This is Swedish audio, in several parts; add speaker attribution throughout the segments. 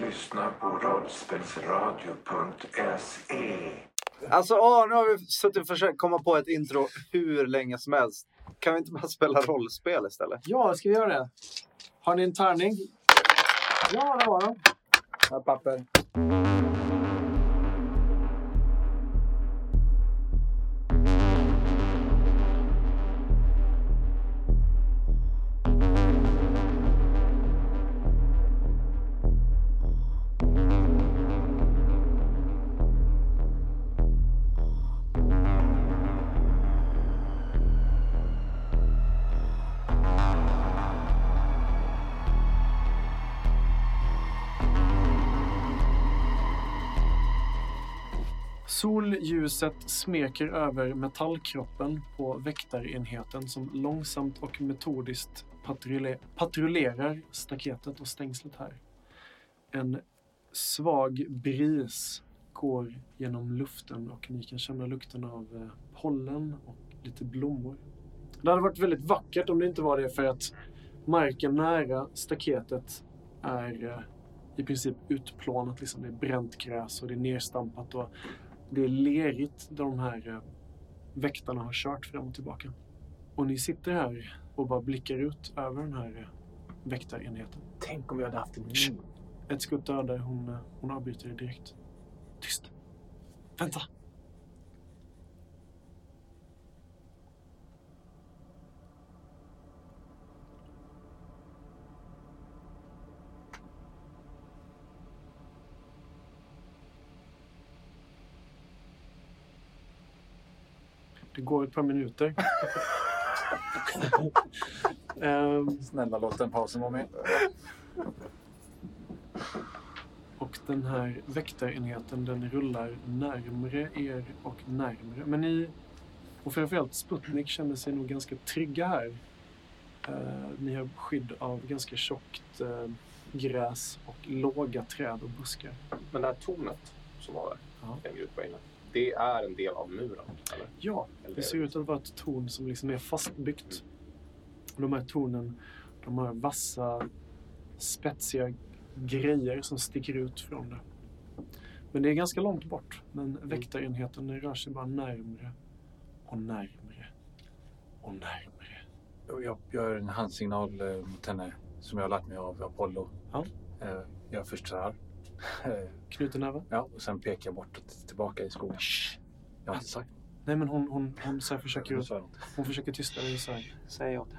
Speaker 1: lyssnar på rollspelsradio.se.
Speaker 2: Alltså, åh, nu har vi suttit och försökt komma på ett intro hur länge som helst. Kan vi inte bara spela rollspel istället?
Speaker 3: Ja, ska vi göra det? Har ni en tärning? Ja, det har de. Här papper. Solljuset smeker över metallkroppen på väktarenheten som långsamt och metodiskt patrulle- patrullerar staketet och stängslet här. En svag bris går genom luften och ni kan känna lukten av eh, pollen och lite blommor. Det hade varit väldigt vackert om det inte var det för att marken nära staketet är eh, i princip utplånat. Liksom. Det är bränt gräs och det är nerstampat och det är lerigt där de här eh, väktarna har kört fram och tillbaka. Och ni sitter här och bara blickar ut över den här eh, väktarenheten.
Speaker 4: Tänk om vi hade haft en
Speaker 3: min. Ett skutt dödar, hon, eh, hon avbryter det direkt. Tyst! Vänta! Det går ett par minuter. Ehm,
Speaker 4: Snälla låt den pausen vara med.
Speaker 3: Och den här väktarenheten den rullar närmre er och närmre. Men ni, och framförallt Sputnik, känner sig nog ganska trygga här. Eh, ni har skydd av ganska tjockt eh, gräs och låga träd och buskar.
Speaker 5: Men det här tornet som var där,
Speaker 3: Ja.
Speaker 5: längre ut på ängen, det är en del av muren? Eller?
Speaker 3: Ja,
Speaker 5: eller
Speaker 3: det ser ut att vara ett torn som liksom är fastbyggt. De här tornen, de har vassa, spetsiga grejer som sticker ut från det. Men det är ganska långt bort. Men väktarenheten rör sig bara närmre och närmre och närmre.
Speaker 4: Jag gör en handsignal eh, mot henne som jag har lärt mig av Apollo.
Speaker 3: Ja.
Speaker 4: Eh, Jag först så här. Eh,
Speaker 3: Knuten näve?
Speaker 4: Ja, och sen pekar jag bortåt tillbaka i skogen. Jag har inte sagt
Speaker 3: Nej, men hon, hon, hon så här försöker
Speaker 4: så här långt.
Speaker 3: Hon försöker tysta dig och säger
Speaker 2: Säg åt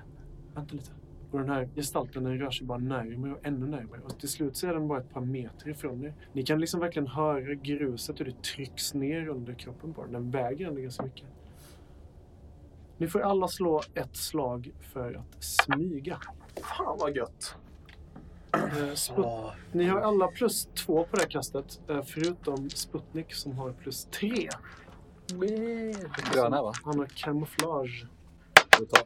Speaker 3: vänta lite. Och den här gestalten den rör sig bara närmare och ännu närmare. Och till slut så är den bara ett par meter ifrån er. Ni kan liksom verkligen höra gruset hur det trycks ner under kroppen på den. Den väger ändå ganska mycket. Ni får alla slå ett slag för att smyga.
Speaker 5: Fan vad gött!
Speaker 3: Eh, Sput- Ni har alla plus två på det här kastet, eh, förutom Sputnik som har plus tre.
Speaker 4: Gröna va?
Speaker 3: Han har kamouflage.
Speaker 4: Då tar-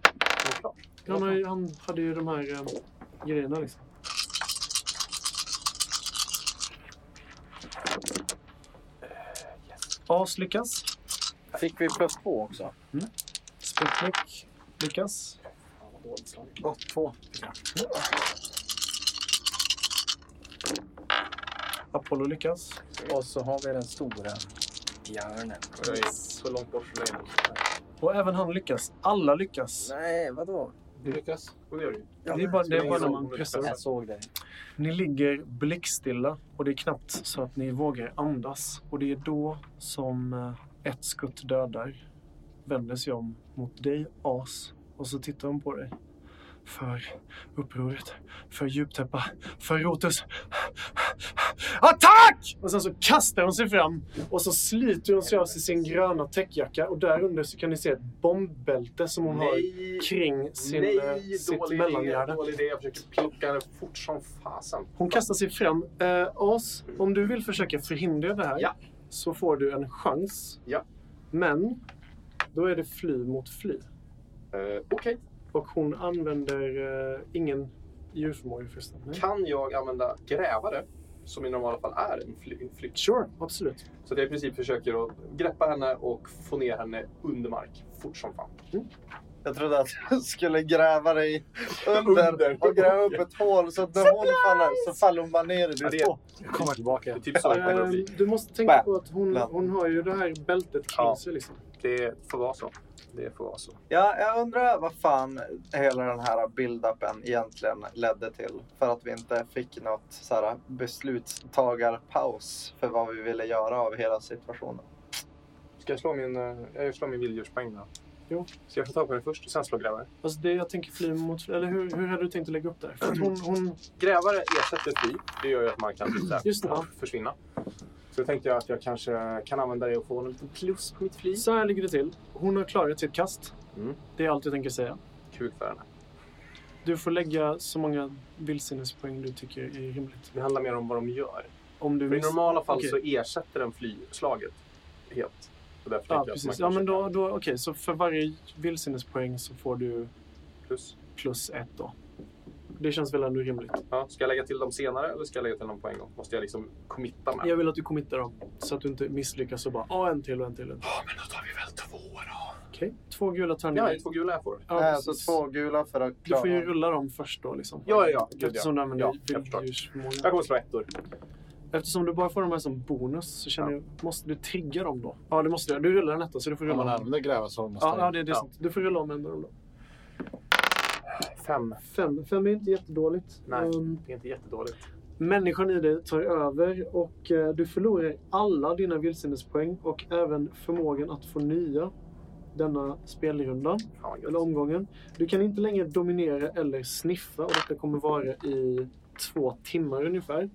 Speaker 3: Han, har, ju- han hade ju de här eh, grejerna liksom. Eh, As lyckas. Mm.
Speaker 6: Fick vi plus två också?
Speaker 3: Sputnik lyckas.
Speaker 4: Åh, Två.
Speaker 3: Apollo lyckas.
Speaker 6: Och så har vi den stora björnen.
Speaker 5: Jag är så långt bort från dig.
Speaker 3: Och även han lyckas. Alla lyckas.
Speaker 6: Nej, vadå?
Speaker 4: Du lyckas.
Speaker 5: Och det gör du ju.
Speaker 3: Det är bara, det är bara när man pressar.
Speaker 6: Jag såg dig.
Speaker 3: Ni ligger blickstilla och det är knappt så att ni vågar andas. Och det är då som eh, ett skutt dödar vänder sig om mot dig, As. Och så tittar hon på dig. För upproret, för djuptäppa, för Rotus. Attack! Och sen så kastar hon sig fram och så sliter hon sig av sig sin gröna täckjacka och där under så kan ni se ett bombbälte som hon har
Speaker 5: Nej!
Speaker 3: kring sin,
Speaker 5: Nej,
Speaker 3: eh, sitt
Speaker 5: dålig idé,
Speaker 3: mellangärde.
Speaker 5: dålig idé. Jag försöker plocka den fort som fasen.
Speaker 3: Hon kastar sig fram. Eh, As, om du vill försöka förhindra det här
Speaker 5: Mm. Ja.
Speaker 3: så får du en chans.
Speaker 5: Ja.
Speaker 3: Men då är det fly mot fly.
Speaker 5: Eh, Okej,
Speaker 3: Och hon använder eh, ingen djurförmåga förresten. Nej.
Speaker 5: kan jag använda grävare? Som i normala fall är en fly- en flykt.
Speaker 3: Sure, absolut.
Speaker 5: Så att jag i princip försöker att greppa henne och få ner henne under mark fort som fan.
Speaker 2: Jag trodde att du skulle gräva dig under,
Speaker 5: Under.
Speaker 2: och gräva upp ett hål så att när hon faller så faller hon bara ner i
Speaker 5: Ja,
Speaker 2: ditt
Speaker 5: det-
Speaker 2: hål.
Speaker 4: Jag kommer
Speaker 5: Det är
Speaker 4: tillbaka.
Speaker 5: typ så det kommer att bli.
Speaker 3: Eh, du måste tänka
Speaker 2: Bam.
Speaker 3: på att hon,
Speaker 2: Bam.
Speaker 3: hon har ju det här bältet kring
Speaker 5: Ja.
Speaker 3: sig. Liksom.
Speaker 5: Det får vara så. Det får vara så.
Speaker 2: Ja, jag undrar vad fan hela den här build-upen egentligen ledde till. För att vi inte fick något så här, beslutstagarpaus för vad vi ville göra av hela situationen.
Speaker 5: Ska jag slå min, eh, jag slår min vilddjurspoäng då?
Speaker 3: Jo.
Speaker 5: Ska jag få tag på den först och sen slå grävare?
Speaker 3: Alltså det jag tänker fly mot... Eller hur, hur hade du tänkt att lägga upp det? För att hon, hon,
Speaker 5: Grävare ersätter fly. Det gör ju att man kan typ så här,
Speaker 3: Just det.
Speaker 5: pop, försvinna. Så tänkte jag att jag kanske kan använda det och få en liten plus på mitt fly.
Speaker 3: så här ligger det till. Hon har klarat sitt kast.
Speaker 5: Mm.
Speaker 3: Det är allt jag tänker säga.
Speaker 5: Kuk för henne.
Speaker 3: Du får lägga så många vildsinnespoäng du tycker är rimligt.
Speaker 5: Det handlar mer om vad de gör.
Speaker 3: Om du
Speaker 5: För I
Speaker 3: miss-
Speaker 5: normala fall
Speaker 3: Okej.
Speaker 5: så ersätter den flyslaget helt. Och därför
Speaker 3: Ja,
Speaker 5: tänker jag att man
Speaker 3: precis.
Speaker 5: kanske
Speaker 3: Ja, men då,
Speaker 5: kan
Speaker 3: då, okej, så för varje vildsinnespoäng så får du
Speaker 5: Plus.
Speaker 3: plus ett då. Det känns väl ändå rimligt.
Speaker 5: Ja, ska jag lägga till dem senare eller ska jag lägga till dem på en gång? Måste jag liksom committa med?
Speaker 3: Jag vill att du committar dem så att du inte misslyckas och bara ah, en till och en till. och en till."
Speaker 5: Ja, men då tar vi väl två då.
Speaker 3: Okej, två gula
Speaker 5: Ja,
Speaker 3: tärningar.
Speaker 5: det är två gula jag Äh, får.
Speaker 3: Ja,
Speaker 2: Nej,
Speaker 3: precis.
Speaker 2: alltså två gula för att
Speaker 3: Du får ju
Speaker 2: klara.
Speaker 3: rulla dem först då liksom.
Speaker 5: Ja, ja, ja. Gud,
Speaker 3: Eftersom du använder
Speaker 5: Ja, jag förstår.
Speaker 3: vilddjursförmågan.
Speaker 5: Jag kommer slå ettor.
Speaker 3: Eftersom du bara får de här som bonus så känner jag, måste du trigga dem då? Ja, det måste du. Du rullar en etta så du får
Speaker 4: Om
Speaker 3: rulla
Speaker 4: man
Speaker 3: om.
Speaker 4: använder gräva så måste
Speaker 3: Ja, ja,
Speaker 4: man...
Speaker 3: det, det är sant. Du får rulla om en av dem då.
Speaker 5: Fem.
Speaker 3: Fem. Fem är inte jättedåligt.
Speaker 5: Nej.
Speaker 3: Ehm,
Speaker 5: Det är inte jättedåligt.
Speaker 3: Människan i dig tar över och eh, du förlorar alla dina vildsinnespoäng och även förmågan att få nya denna spelrunda,
Speaker 5: Fan, vad gött.
Speaker 3: eller omgången. Du kan inte längre dominera eller sniffa och detta kommer vara i två timmar ungefär.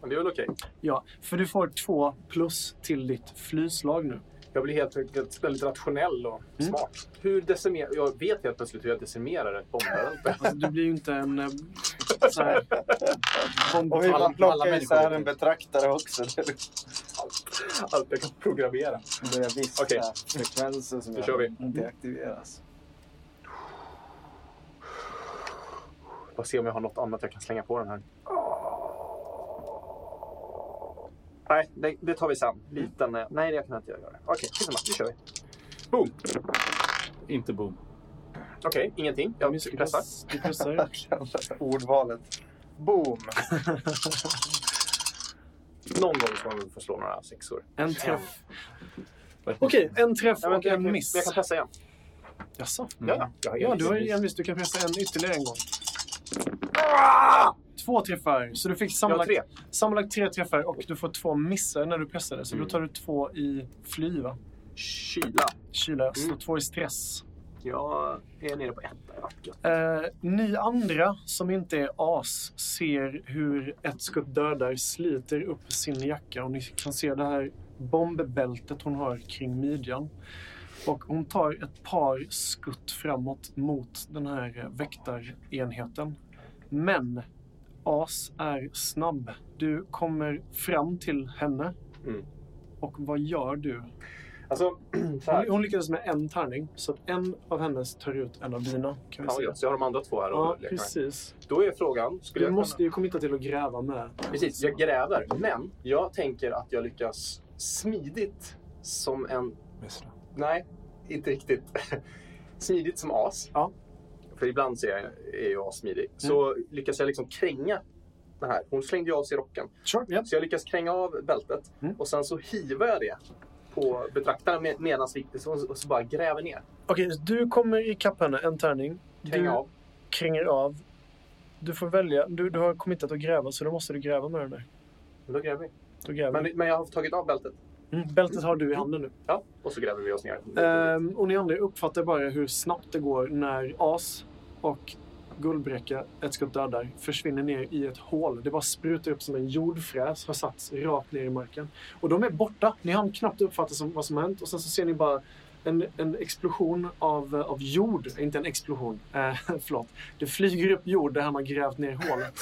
Speaker 5: Men det är väl okej.
Speaker 3: Ja, för du får två plus till ditt flyslag nu.
Speaker 5: Jag blir helt enkelt väldigt rationell och
Speaker 3: Mm.
Speaker 5: smart. Hur decimerar... Jag vet helt plötsligt hur jag decimerar ett bombvälte.
Speaker 3: Alltså, du blir ju inte en... eh, Så här, bomb-
Speaker 2: Och vi
Speaker 4: Alla-
Speaker 2: bara
Speaker 4: alla
Speaker 2: plockar
Speaker 4: människor
Speaker 2: isär
Speaker 4: vet
Speaker 2: en
Speaker 4: det.
Speaker 2: betraktare också.
Speaker 5: Allt jag kan programmera.
Speaker 6: Börja vissa
Speaker 5: Okej.
Speaker 6: frekvenser som
Speaker 5: Då kör vi.
Speaker 6: inte aktiveras.
Speaker 5: Får se om jag har något annat jag kan slänga på den här. Nej, det, det tar vi sen. Liten... eh, Nej, det kan jag inte göra. Okej, skitsamma. Nu kör vi. Boom!
Speaker 4: Inte boom.
Speaker 5: Okej, ingenting. Jag pressar.
Speaker 3: misslyckas. Du pressar.
Speaker 2: Mm. Ordvalet. Boom!
Speaker 5: Någon gång ska man väl få slå några sexor.
Speaker 3: En träff. Okej, en träff
Speaker 5: Alltså, Nej, men
Speaker 3: och
Speaker 5: jag,
Speaker 3: en
Speaker 5: kan-
Speaker 3: miss.
Speaker 5: jag kan pressa igen.
Speaker 3: Jaså?
Speaker 4: Mm.
Speaker 5: Ja, jag har
Speaker 3: Ja,
Speaker 5: en
Speaker 3: du
Speaker 5: miss.
Speaker 3: har ju en miss. Du kan pressa en ytterligare en gång.
Speaker 5: Ah!
Speaker 3: Två träffar. Så du fick
Speaker 5: Jag har
Speaker 3: sammanlagt,
Speaker 5: tre.
Speaker 3: sammanlagt tre träffar och du får två missar när du pressade. Så då tar du två i fly, va?
Speaker 5: Kyla.
Speaker 3: Kyla. Så
Speaker 5: Mm.
Speaker 3: två i stress.
Speaker 5: Jag är nere på etta. Jag har varit gött.
Speaker 3: Eh, ni andra som inte är as ser hur ett skutt dödar sliter upp sin jacka och ni kan se det här bombbältet hon har kring midjan. Och hon tar ett par skutt framåt mot den här eh, väktarenheten. Men as är snabb. Du kommer fram till henne.
Speaker 5: Mm.
Speaker 3: Och vad gör du?
Speaker 5: Alltså, så här.
Speaker 3: Hon, hon lyckades med en tärning, så att en av hennes tar ut en av dina. Kan vi
Speaker 5: Fan vad
Speaker 3: säga.
Speaker 5: gött. Så jag har de andra två här
Speaker 3: Ja,
Speaker 5: och leker med.
Speaker 3: precis.
Speaker 5: Då är frågan, skulle
Speaker 3: Du
Speaker 5: jag
Speaker 3: måste ju kommitta till att gräva med.
Speaker 5: kunna... Precis, jag gräver. Men jag tänker att jag lyckas smidigt som en...
Speaker 4: Missla.
Speaker 5: Nej, inte riktigt. smidigt som as.
Speaker 3: Ja. Mm.
Speaker 5: För ibland så är jag, är jag smidig. Så lyckas jag liksom kränga det här. Hon slängde ju av sig rocken.
Speaker 3: Sure, ja.
Speaker 5: Så jag lyckas kränga av bältet
Speaker 3: Mm.
Speaker 5: och sen så hivar jag det på betraktaren med, medan vi så, och så bara gräver ner.
Speaker 3: Okej, så du kommer ikapp henne, en tärning.
Speaker 5: Kränga
Speaker 3: du
Speaker 5: av.
Speaker 3: kränger av. Du får välja. Du, du har kommittat att gräva, så då måste du gräva med den där.
Speaker 5: Men då gräver vi.
Speaker 3: Då gräver
Speaker 5: Men, men jag har tagit av bältet.
Speaker 3: du. mm. Bältet har du i handen nu.
Speaker 5: Ja, och så gräver vi oss ner.
Speaker 2: Eh,
Speaker 3: Ehm, och ni andra uppfattar bara hur snabbt det går när As och Guldbräcka, ett skutt dödar, försvinner ner i ett hål. Det bara sprutar upp som en jordfräs har satts rakt ner i marken. Och de är borta. Ni hann knappt uppfatta som, vad som har hänt. Och sen så ser ni bara en, en explosion av, eh, av jord. Inte en explosion, eh, förlåt. Det flyger upp jord där han har grävt ner hålet.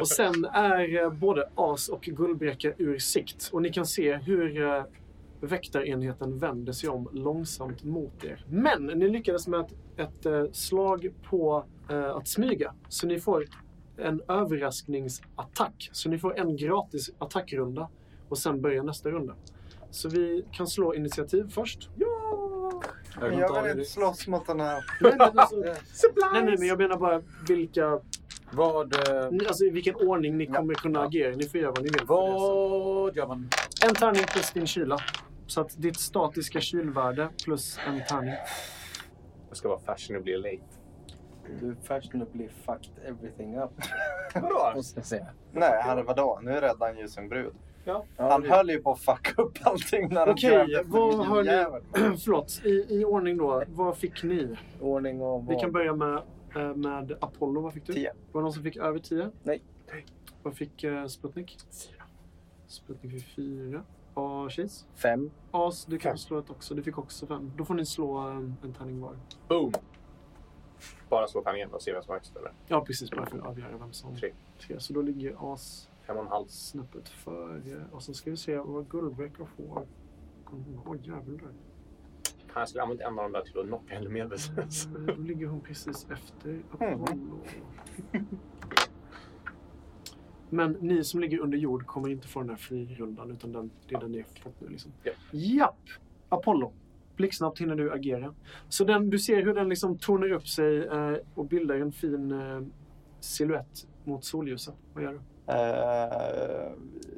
Speaker 3: Och sen är eh, både As och Guldbräcka ur sikt. Och ni kan se hur eh, väktarenheten vänder sig om långsamt mot er. Men ni lyckades med ett, ett eh, slag på eh, att smyga. Så ni får en överraskningsattack. Så ni får en gratis attackrunda och sen börjar nästa runda. Så vi kan slå initiativ först. Ja!
Speaker 4: Jag kan
Speaker 2: Jag
Speaker 4: ta
Speaker 2: vill
Speaker 4: det
Speaker 2: inte
Speaker 4: direkt.
Speaker 2: slåss mot den här.
Speaker 3: Nej, men alltså,
Speaker 5: Supplies!
Speaker 3: nej, nej, men jag menar bara vilka,
Speaker 4: Vad, eh,
Speaker 3: alltså, i vilken ordning ni kommer kunna agera. Ni får göra vad ni vill. på det, så.
Speaker 4: vad gör man?
Speaker 3: En tärning plus din kyla. Så att ditt statiska kylvärde plus en tärning.
Speaker 5: Jag ska vara fashionably late.
Speaker 6: Du fashionably fucked everything up.
Speaker 5: Vadå?
Speaker 6: Måste jag säga.
Speaker 2: Nej, herre vadå? Nu räddade han ju sin brud.
Speaker 5: Ja.
Speaker 2: Han höll ju på att fucka upp allting när han
Speaker 3: Okej,
Speaker 2: grävde efter
Speaker 3: vad
Speaker 2: min
Speaker 3: har ni-
Speaker 2: jävel.
Speaker 3: Förlåt, i, i ordning då. Vad fick ni?
Speaker 6: Ordning och
Speaker 3: Vi
Speaker 6: vad?
Speaker 3: kan börja med, eh, med Apollo. Vad fick du?
Speaker 2: Tio.
Speaker 3: Var det någon som fick över 10?
Speaker 6: Nej.
Speaker 3: Vad fick eh, Sputnik? 4. Sputnik fick 4. Och Chase?
Speaker 6: Fem.
Speaker 3: As, du kan
Speaker 5: Fem.
Speaker 3: slå ett också. Du fick också 5. Då får ni slå en, en tärning var.
Speaker 5: Boom! Bara slå tangent och se vem som har högst eller?
Speaker 3: Ja, precis. Bara för att avgöra vem som...
Speaker 5: Tre.
Speaker 3: Tre. Så då ligger As
Speaker 5: Fem och en halv.
Speaker 3: snäppet före. Och sen ska vi se vad Gullbräcka får. Kommer hon- Åh, jävlar.
Speaker 5: Han skulle använt en av dem där till att knocka henne medvetslös.
Speaker 3: Eh, Då ligger hon precis efter Apollo. Men ni som ligger under jord kommer inte få den här frirundan utan den, det är den ni har fått nu. Liksom.
Speaker 5: Ja.
Speaker 3: Japp! Apollo. Blixtsnabbt hinner du agera. Så den, du ser hur den liksom tornar upp sig eh, och bildar en fin eh, silhuett mot solljuset. Vad gör du?
Speaker 2: Eh,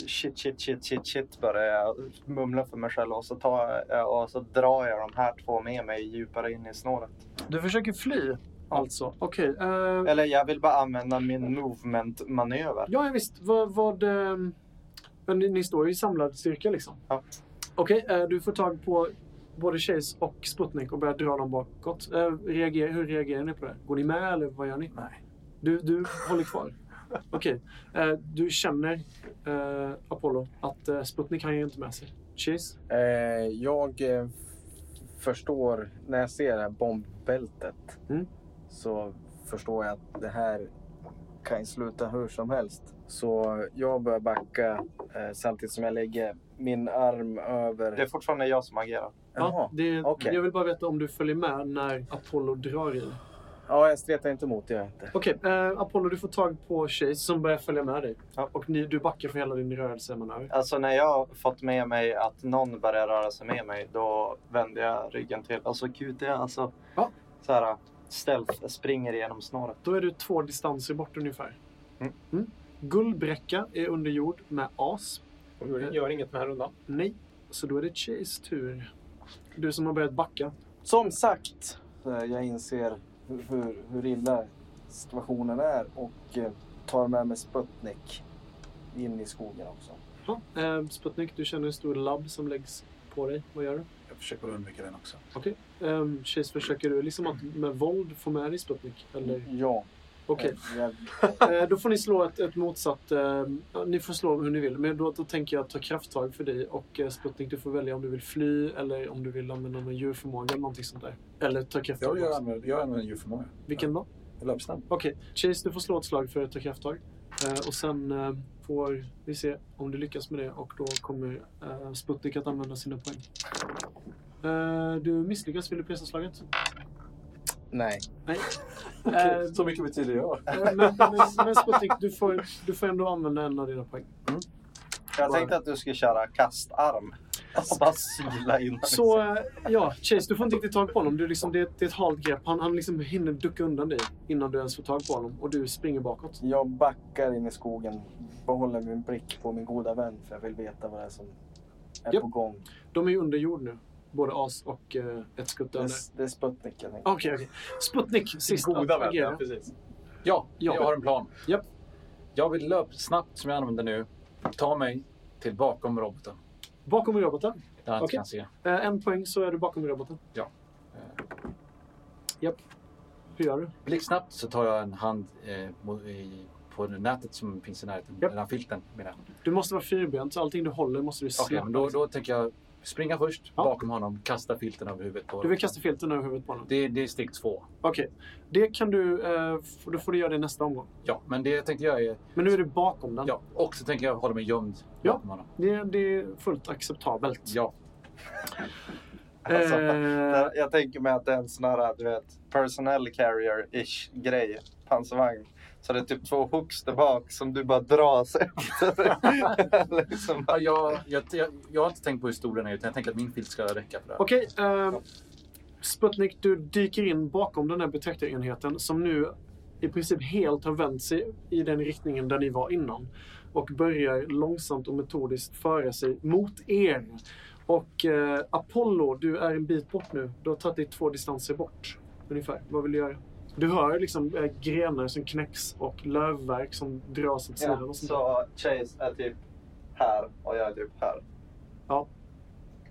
Speaker 2: shit, shit, shit, shit, shit börjar jag mumla för mig själv och så, tar jag, och så drar jag de här två med mig djupare in i snåret.
Speaker 3: Du försöker fly alltså. Okej. eh,
Speaker 2: Eller jag vill bara använda min movement-manöver.
Speaker 3: Ja, ja visst. Vad... vad ehm, men ni, ni står ju i samlad styrka liksom.
Speaker 2: Ja.
Speaker 3: Okej, eh, du får tag på både Chase och Sputnik och börjar dra dem bakåt. Eh, reagerar, hur reagerar ni på det? Går ni med eller vad gör ni?
Speaker 4: Nej.
Speaker 3: Du, du håller kvar? Okej. Eh, du känner, eh, Apollo, att eh, Sputnik han är ju inte med sig. Chase?
Speaker 6: Eh, jag eh, f- förstår, när jag ser det här bombbältet
Speaker 3: Mm.
Speaker 6: så förstår jag att det här kan ju sluta hur som helst. Så jag börjar backa eh, samtidigt som jag lägger min arm över...
Speaker 2: Det är fortfarande jag som agerar.
Speaker 6: Jaha.
Speaker 3: ja, det,
Speaker 6: okej.
Speaker 3: Jag vill bara veta om du följer med när Apollo drar i.
Speaker 6: Ja, jag stretar inte emot, det gör jag inte.
Speaker 3: Okej, eh, Apollo du får tag på Chase som börjar följa med dig.
Speaker 2: Ja.
Speaker 3: Och ni, du backar för hela din rörelsemanöver.
Speaker 2: Alltså när jag fått med mig att någon börjar röra sig med mig, då vänder jag ryggen till. Alltså QT, alltså.
Speaker 3: Ja.
Speaker 2: Så här, stealth, springer igenom snåret.
Speaker 3: Då är du två distanser bort ungefär.
Speaker 2: Mm.
Speaker 3: Mm. Gullbräcka är under jord med as.
Speaker 5: Hon gör- gör inget med den här rundan.
Speaker 3: Nej. Så då är det Chase tur. Du som har börjat backa.
Speaker 6: Som sagt, eh, jag inser hur, hur, hur illa situationen är och eh, tar med mig Sputnik in i skogen också.
Speaker 3: Ja. Eh, Sputnik, du känner en stor labb som läggs på dig. Vad gör du?
Speaker 4: Jag försöker undvika den också.
Speaker 3: Okej. Eh, Chase, försöker du liksom att med våld få med dig Sputnik? Eller?
Speaker 6: Ja.
Speaker 3: Okej.
Speaker 6: eh, Jag,
Speaker 3: Eh, då får ni slå ett, ett motsatt... Eh, ja, ni får slå hur ni vill. Men då, då tänker jag ta krafttag för dig. Och eh, Sputnik, du får välja om du vill fly eller om du vill använda någon djurförmåga eller någonting sånt där. Eller ta krafttag
Speaker 4: Jag, jag,
Speaker 3: också.
Speaker 4: använder, jag använder djurförmåga.
Speaker 3: Vilken då?
Speaker 4: Jag löpsnabb.
Speaker 3: Okej, Chase du får slå ett slag för att ta krafttag. Eh, och sen eh, får vi se om du lyckas med det och då kommer eh, Sputnik att använda sina poäng. Eh, du misslyckas, vill du pressa slaget?
Speaker 6: nej.
Speaker 3: Nej. Eh,
Speaker 4: Okej, Så mycket betyder jag.
Speaker 3: eh, men, men, men Sputnik, du får, du får ändå använda en av dina poäng.
Speaker 2: Jag tänkte att du skulle köra kastarm. Alltså bara sila in.
Speaker 3: Så eh, ja, Chase, du får inte riktigt tag på honom. Du liksom, det, är ett- det är ett halt grepp. Han, han liksom hinner ducka undan dig innan du ens får tag på honom och du springer bakåt.
Speaker 6: Jag backar in i skogen, behåller min blick på min goda vän för jag vill veta vad det är som är
Speaker 3: Japp.
Speaker 6: på gång.
Speaker 3: De är ju under jord nu, både As och eh, ett skutt
Speaker 6: Det är,
Speaker 3: under.
Speaker 6: det är Sputnik jag tänker.
Speaker 3: Okej, okej. Sputnik, sist
Speaker 5: Goda
Speaker 3: att
Speaker 5: vän.
Speaker 3: agera.
Speaker 5: Ja, precis.
Speaker 4: Ja,
Speaker 3: Ja.
Speaker 4: jag har en plan.
Speaker 3: Japp.
Speaker 4: Jag vill löpsnabbt, som jag använder nu, ta mig till bakom roboten.
Speaker 3: Bakom roboten.
Speaker 4: Där han
Speaker 3: Okej.
Speaker 4: inte kan se.
Speaker 3: Eh, en poäng så är du bakom roboten. Eh.
Speaker 4: Ja.
Speaker 3: Japp. Hur gör du?
Speaker 4: Blixtsnabbt så tar jag en hand eh, mo- i, på det nätet som finns i närheten.
Speaker 3: Japp.
Speaker 4: Den här filten menar jag.
Speaker 3: Du måste vara fyrbent, så allting du håller måste du
Speaker 4: Okej,
Speaker 3: släppa.
Speaker 4: men då, då tänker jag springa först
Speaker 3: Ja.
Speaker 4: bakom honom, kasta filten över huvudet på
Speaker 3: Du vill kasta filten över huvudet på honom?
Speaker 4: Det, det är steg två.
Speaker 3: Okej. Det kan du... Eh, f- då får du göra det nästa omgång.
Speaker 4: Ja, men det jag tänkte göra är...
Speaker 3: Men nu är du bakom den.
Speaker 4: Ja, och så tänker jag hålla mig gömd
Speaker 3: Ja.
Speaker 4: bakom honom.
Speaker 3: Det, det är fullt acceptabelt.
Speaker 4: Ja,
Speaker 2: Alltså,
Speaker 3: eh,
Speaker 2: Där- Jag tänker mig att det är en sån här, du vet, personnel carrier-ish grej, pansarvagn. Så det är typ två hooks där bak som du bara dras efter. liksom.
Speaker 4: Ja, jag, jag, jag, jag har inte tänkt på hur stor den är utan jag tänker att min filt ska räcka för det här.
Speaker 3: Okej. eh, Sputnik, du dyker in bakom den här betraktarenheten som nu i princip helt har vänt sig i den riktningen där ni var innan och börjar långsamt och metodiskt föra sig mot er. Och eh, Apollo, du är en bit bort nu. Du har tagit dig två distanser bort ungefär. Vad vill du göra? Du hör liksom eh, grenar som knäcks och lövverk som dras åt sidan
Speaker 2: Ja,
Speaker 3: och sånt där.
Speaker 2: så Chase är typ här och jag är typ här.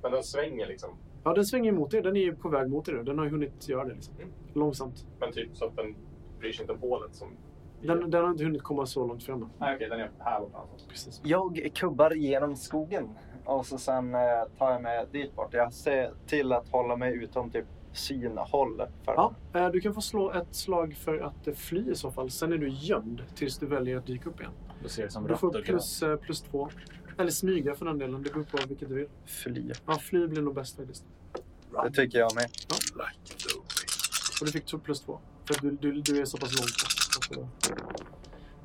Speaker 5: Men den svänger liksom.
Speaker 3: Ja, den svänger mot er. Den är ju på väg mot er nu. Den har ju hunnit göra det liksom.
Speaker 5: Mm.
Speaker 3: Långsamt.
Speaker 5: Men typ så att den bryr sig inte om hålet som...
Speaker 3: Den, den har inte hunnit komma så långt fram än.
Speaker 5: Nej, okej, den är här borta. alltså.
Speaker 3: Precis.
Speaker 2: Jag kubbar genom skogen och så sen eh, tar jag mig dit bort. Jag ser till att hålla mig utom typ synhåll. För
Speaker 3: Ja, eh, du kan få slå ett slag för att eh, fly i så fall. Sen är du gömd tills du väljer att dyka upp igen.
Speaker 4: Då ser det som
Speaker 3: Du får
Speaker 4: råttor.
Speaker 3: plus, eh, plus två. Eller smyga för den delen. Det beror på vilket du vill.
Speaker 2: fly.
Speaker 3: Ja, fly blir nog bäst faktiskt.
Speaker 2: Det tycker jag med.
Speaker 3: Och du fick t- plus två. För att du, du, du är så pass långt bort. Att du-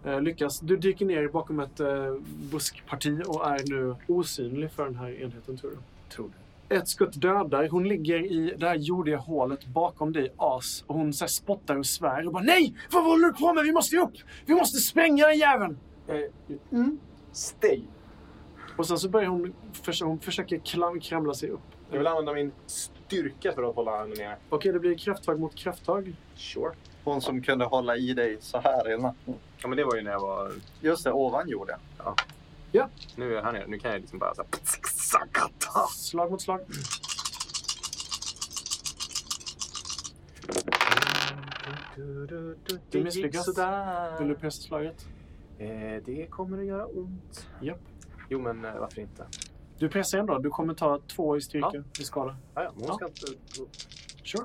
Speaker 3: Eh, lyckas. Du dyker ner bakom ett eh, buskparti och är nu osynlig för den här enheten tror du.
Speaker 4: Tror du.
Speaker 3: Ett skutt dödar. Hon ligger i det här jordiga hålet bakom dig, As. Och hon så här spottar och svär och bara Nej! Vad håller du på med? Vi måste ju upp! Vi måste spränga den jäveln! Mm.
Speaker 5: Stay!
Speaker 3: Och sen så börjar hon, förs- hon försöker klam- kramla sig upp.
Speaker 5: Jag vill använda min styrka för att hålla henne nere.
Speaker 3: Okej, det blir krafttag mot krafttag.
Speaker 5: Sure.
Speaker 2: Hon som kunde hålla i dig så här innan.
Speaker 5: Ja, men det var ju när jag var...
Speaker 2: Just det, ovan jorden.
Speaker 5: Nu är jag här nere. Nu kan jag liksom bara så här...
Speaker 3: Slag mot slag.
Speaker 5: Det gick
Speaker 3: misslyckas.
Speaker 5: sådär.
Speaker 3: Vill du pressa slaget?
Speaker 5: Eh, det kommer att göra ont.
Speaker 3: Japp.
Speaker 5: Jo, men eh, varför inte?
Speaker 3: Du pressar ändå. Du kommer ta två i styrka i skala.
Speaker 5: Ah, ja, hon
Speaker 3: Ja.
Speaker 5: ska inte...
Speaker 3: Sure.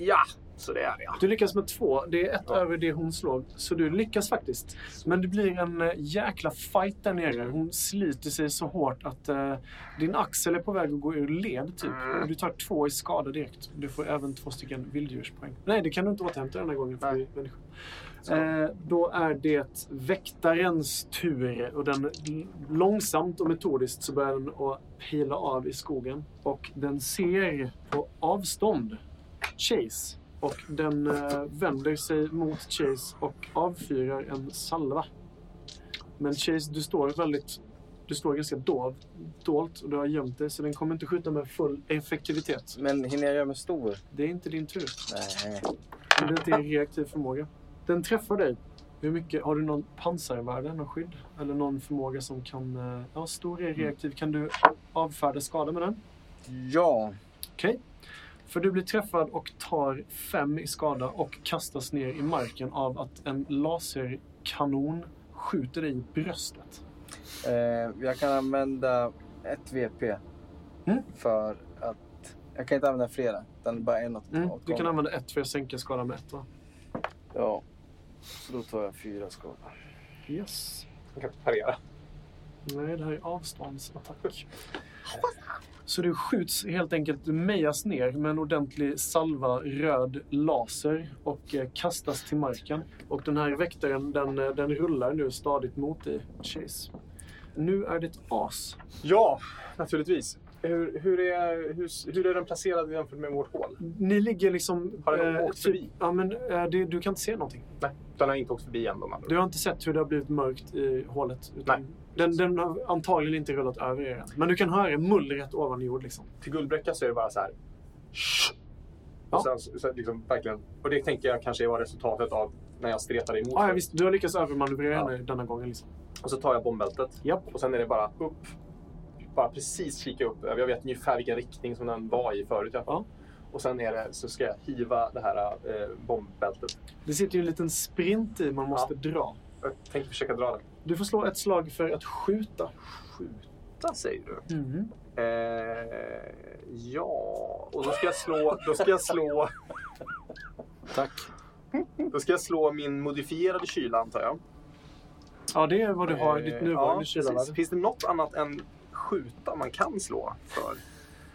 Speaker 5: Ja, så det är det. ja.
Speaker 3: Du lyckas med två. Det är ett
Speaker 5: Ja.
Speaker 3: över det hon slog. Så du lyckas faktiskt. Men det blir en eh, jäkla fight där nere. Hon sliter sig så hårt att eh, din axel är på väg att gå ur led typ.
Speaker 5: Mm.
Speaker 3: Och du tar två i skada direkt. Du får även två stycken vilddjurspoäng. Nej, det kan du inte återhämta den här gången. För du är människa.
Speaker 5: Så.
Speaker 3: Eh, då är det väktarens tur och den l- långsamt och metodiskt så börjar den att pila av i skogen och den ser på avstånd Chase och den eh, vänder sig mot Chase och avfyrar en salva. Men Chase, du står väldigt du står ganska dov, dolt och du har gömt dig så den kommer inte skjuta med full effektivitet.
Speaker 6: Men hinner jag göra mig stor?
Speaker 3: Det är inte din tur.
Speaker 6: Nej.
Speaker 3: Men det är inte en reaktiv förmåga. Den träffar dig. Hur mycket, har du någon pansarvärde, någon skydd? Eller någon förmåga som kan... eh, Ja, stor är reaktiv. Kan du avfärda skada med den?
Speaker 6: Ja.
Speaker 3: Okej. För du blir träffad och tar fem i skada och kastas ner i marken av att en laserkanon skjuter dig i bröstet.
Speaker 6: Eh, jag kan använda ett VP
Speaker 3: Mm.
Speaker 6: för att... Jag kan inte använda flera, utan bara en åt,
Speaker 3: Mm.
Speaker 6: åt
Speaker 3: Du kan
Speaker 6: gången.
Speaker 3: använda ett för att sänka skada med ett, va?
Speaker 6: Ja. Så då tar jag fyra skador.
Speaker 3: Yes.
Speaker 5: Hon kan parera.
Speaker 3: Nej, det här är avståndsattack. Så du skjuts helt enkelt, du mejas ner med en ordentlig salva röd laser och eh, kastas till marken. Och den här väktaren, den, eh, den rullar nu stadigt mot dig, Chase. Nu är det as.
Speaker 5: Ja, naturligtvis. Hur, hur, är, hur, hur är den placerad jämfört med vårt hål?
Speaker 3: Ni ligger liksom...
Speaker 5: Har den åkt förbi?
Speaker 3: Ja, men eh, det, du kan inte se någonting.
Speaker 5: Nej, den har inte åkt förbi än. De andra.
Speaker 3: Du har inte sett hur det har blivit mörkt i hålet. Utan den, den har antagligen inte rullat över er än. Men du kan höra mullret ovan jord liksom.
Speaker 5: Till guldbräcka så är det bara så här... "Shh."
Speaker 3: Ja.
Speaker 5: Och, sen, så- så liksom, verkligen, och det tänker jag kanske var resultatet av när jag stretade emot.
Speaker 3: Ah, ja,
Speaker 5: dig.
Speaker 3: visst, du har lyckats övermanövrera henne denna gången. Liksom.
Speaker 5: Och så tar jag bombbältet.
Speaker 3: Japp.
Speaker 5: Och sen är det bara upp. Bara precis kika upp. Jag vet ungefär vilken riktning som den var i förut. i alla fall. Och sen är det, så ska jag hiva det här eh, bombbältet.
Speaker 3: Det sitter ju en liten sprint i man måste dra.
Speaker 5: Jag tänker försöka dra den.
Speaker 3: Du får slå ett slag för att skjuta.
Speaker 5: Skjuta säger du? Eh, ja, och då ska jag slå... Då ska jag slå...
Speaker 6: Tack.
Speaker 5: Då ska jag slå min modifierade kyla antar jag.
Speaker 3: Ja, det är vad du har i ditt
Speaker 5: Eh,
Speaker 3: nuvarande
Speaker 5: precis.
Speaker 3: kylarvärde.
Speaker 5: Finns det något annat än skjuta man kan slå för?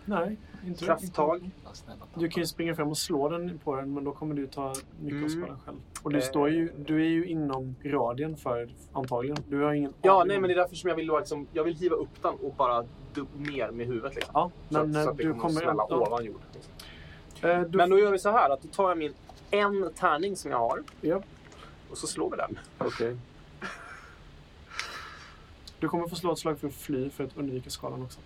Speaker 3: Nej. Inte-
Speaker 5: Krafttag.
Speaker 4: Ja, snälla,
Speaker 3: Du kan ju springa fram och slå den på den, men då kommer du ta mycket av
Speaker 5: Mm.
Speaker 3: skadan själv. Och du,
Speaker 5: Eh.
Speaker 3: står ju, du är ju inom radien för antagligen. Du har ingen
Speaker 5: Ja,
Speaker 3: aning.
Speaker 5: nej, men det är därför som jag vill, då liksom, jag vill hiva upp den och bara du, ner med huvudet. Liksom.
Speaker 3: Ja,
Speaker 5: Så
Speaker 3: men
Speaker 5: att- så
Speaker 3: eh,
Speaker 5: att det
Speaker 3: du
Speaker 5: kommer att
Speaker 3: kommer...
Speaker 5: smälla
Speaker 3: ja,
Speaker 5: ovan jord. Liksom.
Speaker 3: eh, du,
Speaker 5: Men då gör vi så här att då tar jag min en tärning som jag har.
Speaker 3: Ja.
Speaker 5: Och så slår vi den.
Speaker 2: Okej.
Speaker 3: du kommer få slå ett slag för att fly för att undvika skadan också.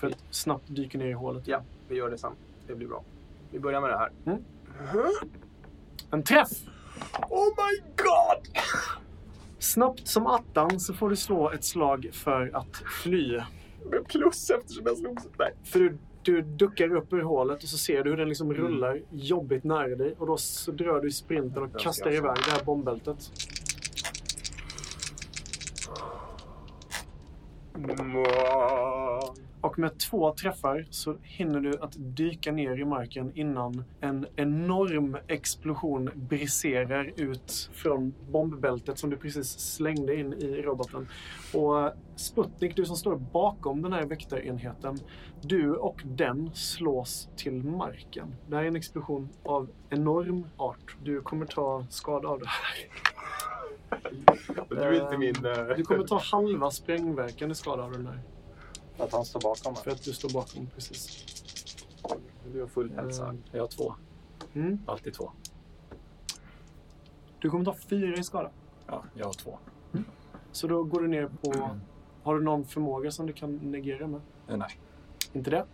Speaker 3: För att snabbt dyka ner i hålet.
Speaker 5: Ja, vi gör det sen. Det blir bra. Vi börjar med det här.
Speaker 3: Mm. En träff!
Speaker 5: Oh my god!
Speaker 3: Snabbt som attan så får du slå ett slag för att fly.
Speaker 5: Med plus eftersom jag slog så där.
Speaker 3: För du, du duckar upp ur hålet och så ser du hur den
Speaker 5: Mm.
Speaker 3: liksom rullar jobbigt nära dig. Och då så drar du i sprinten och
Speaker 5: ska
Speaker 3: kastar
Speaker 5: jag se.
Speaker 3: iväg det här bombbältet. Och med två träffar så hinner du att dyka ner i marken innan en enorm explosion briserar ut från bombbältet som du precis slängde in i roboten. Och Sputnik, du som står bakom den här väktarenheten, du och den slås till marken. Det här är en explosion av enorm art. Du kommer ta skada av det här.
Speaker 5: Du är inte min... eh,
Speaker 3: Du kommer ta halva sprängverkan i skada av den här.
Speaker 2: Att han står bakom mig.
Speaker 3: För att du står bakom precis.
Speaker 5: Du har full hälsa.
Speaker 3: Mm.
Speaker 4: Jag har två.
Speaker 3: Mm.
Speaker 4: Alltid två.
Speaker 3: Du kommer ta fyra i skada.
Speaker 4: Ja, jag har två.
Speaker 3: Så då går du ner på... Har du någon förmåga som du kan negera med?
Speaker 4: Eh, Nej,
Speaker 3: Inte det?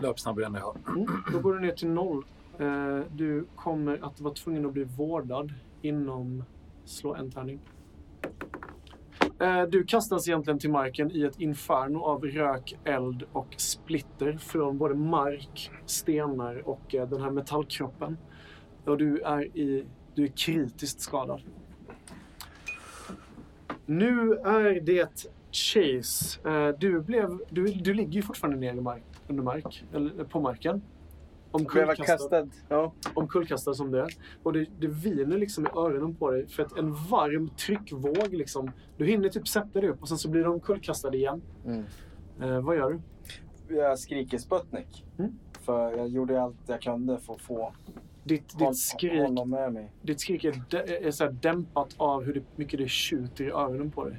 Speaker 4: löpsnabb är det enda jag har.
Speaker 3: Mm. Då går du ner till noll. Eh, Du kommer att vara tvungen att bli vårdad inom... Slå en tärning. Eh, Du kastas egentligen till marken i ett inferno av rök, eld och splitter från både mark, stenar och eh, den här metallkroppen. Och du är, i, du är kritiskt skadad. Nu är det Chase. Eh, Du, blev, du, du ligger ju fortfarande nere i mark, under mark, eller på marken.
Speaker 6: Blev jag
Speaker 3: Omkullkastad
Speaker 6: kastad? Ja.
Speaker 3: omkullkastad som det är. Och det, det viner liksom i öronen på dig för att en varm tryckvåg liksom. Du hinner typ sätta dig upp och sen så blir du omkullkastad igen.
Speaker 6: Mm.
Speaker 3: Eh, vad gör du?
Speaker 6: Jag skriker Sputnik.
Speaker 3: Mm.
Speaker 6: För jag gjorde allt jag kunde för att få
Speaker 3: Ditt,
Speaker 6: hon-
Speaker 3: ditt, skrik,
Speaker 6: honom med mig.
Speaker 3: ditt skrik är, dä- är så här dämpat av hur det- mycket det tjuter i öronen på dig.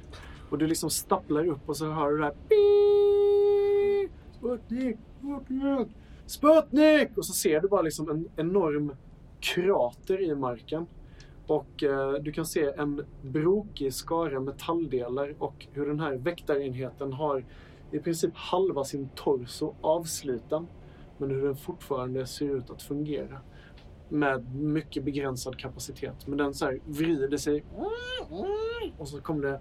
Speaker 3: Och du liksom stapplar upp och så hör du det här "Pii! Sputnik, Sputnik, Sputnik! Och så ser du bara liksom en enorm krater i marken. Och eh, du kan se en brokig skara metalldelar och hur den här väktarenheten har i princip halva sin torso avsliten. Men hur den fortfarande ser ut att fungera. Med mycket begränsad kapacitet. Men den så här vrider sig. Och så kommer det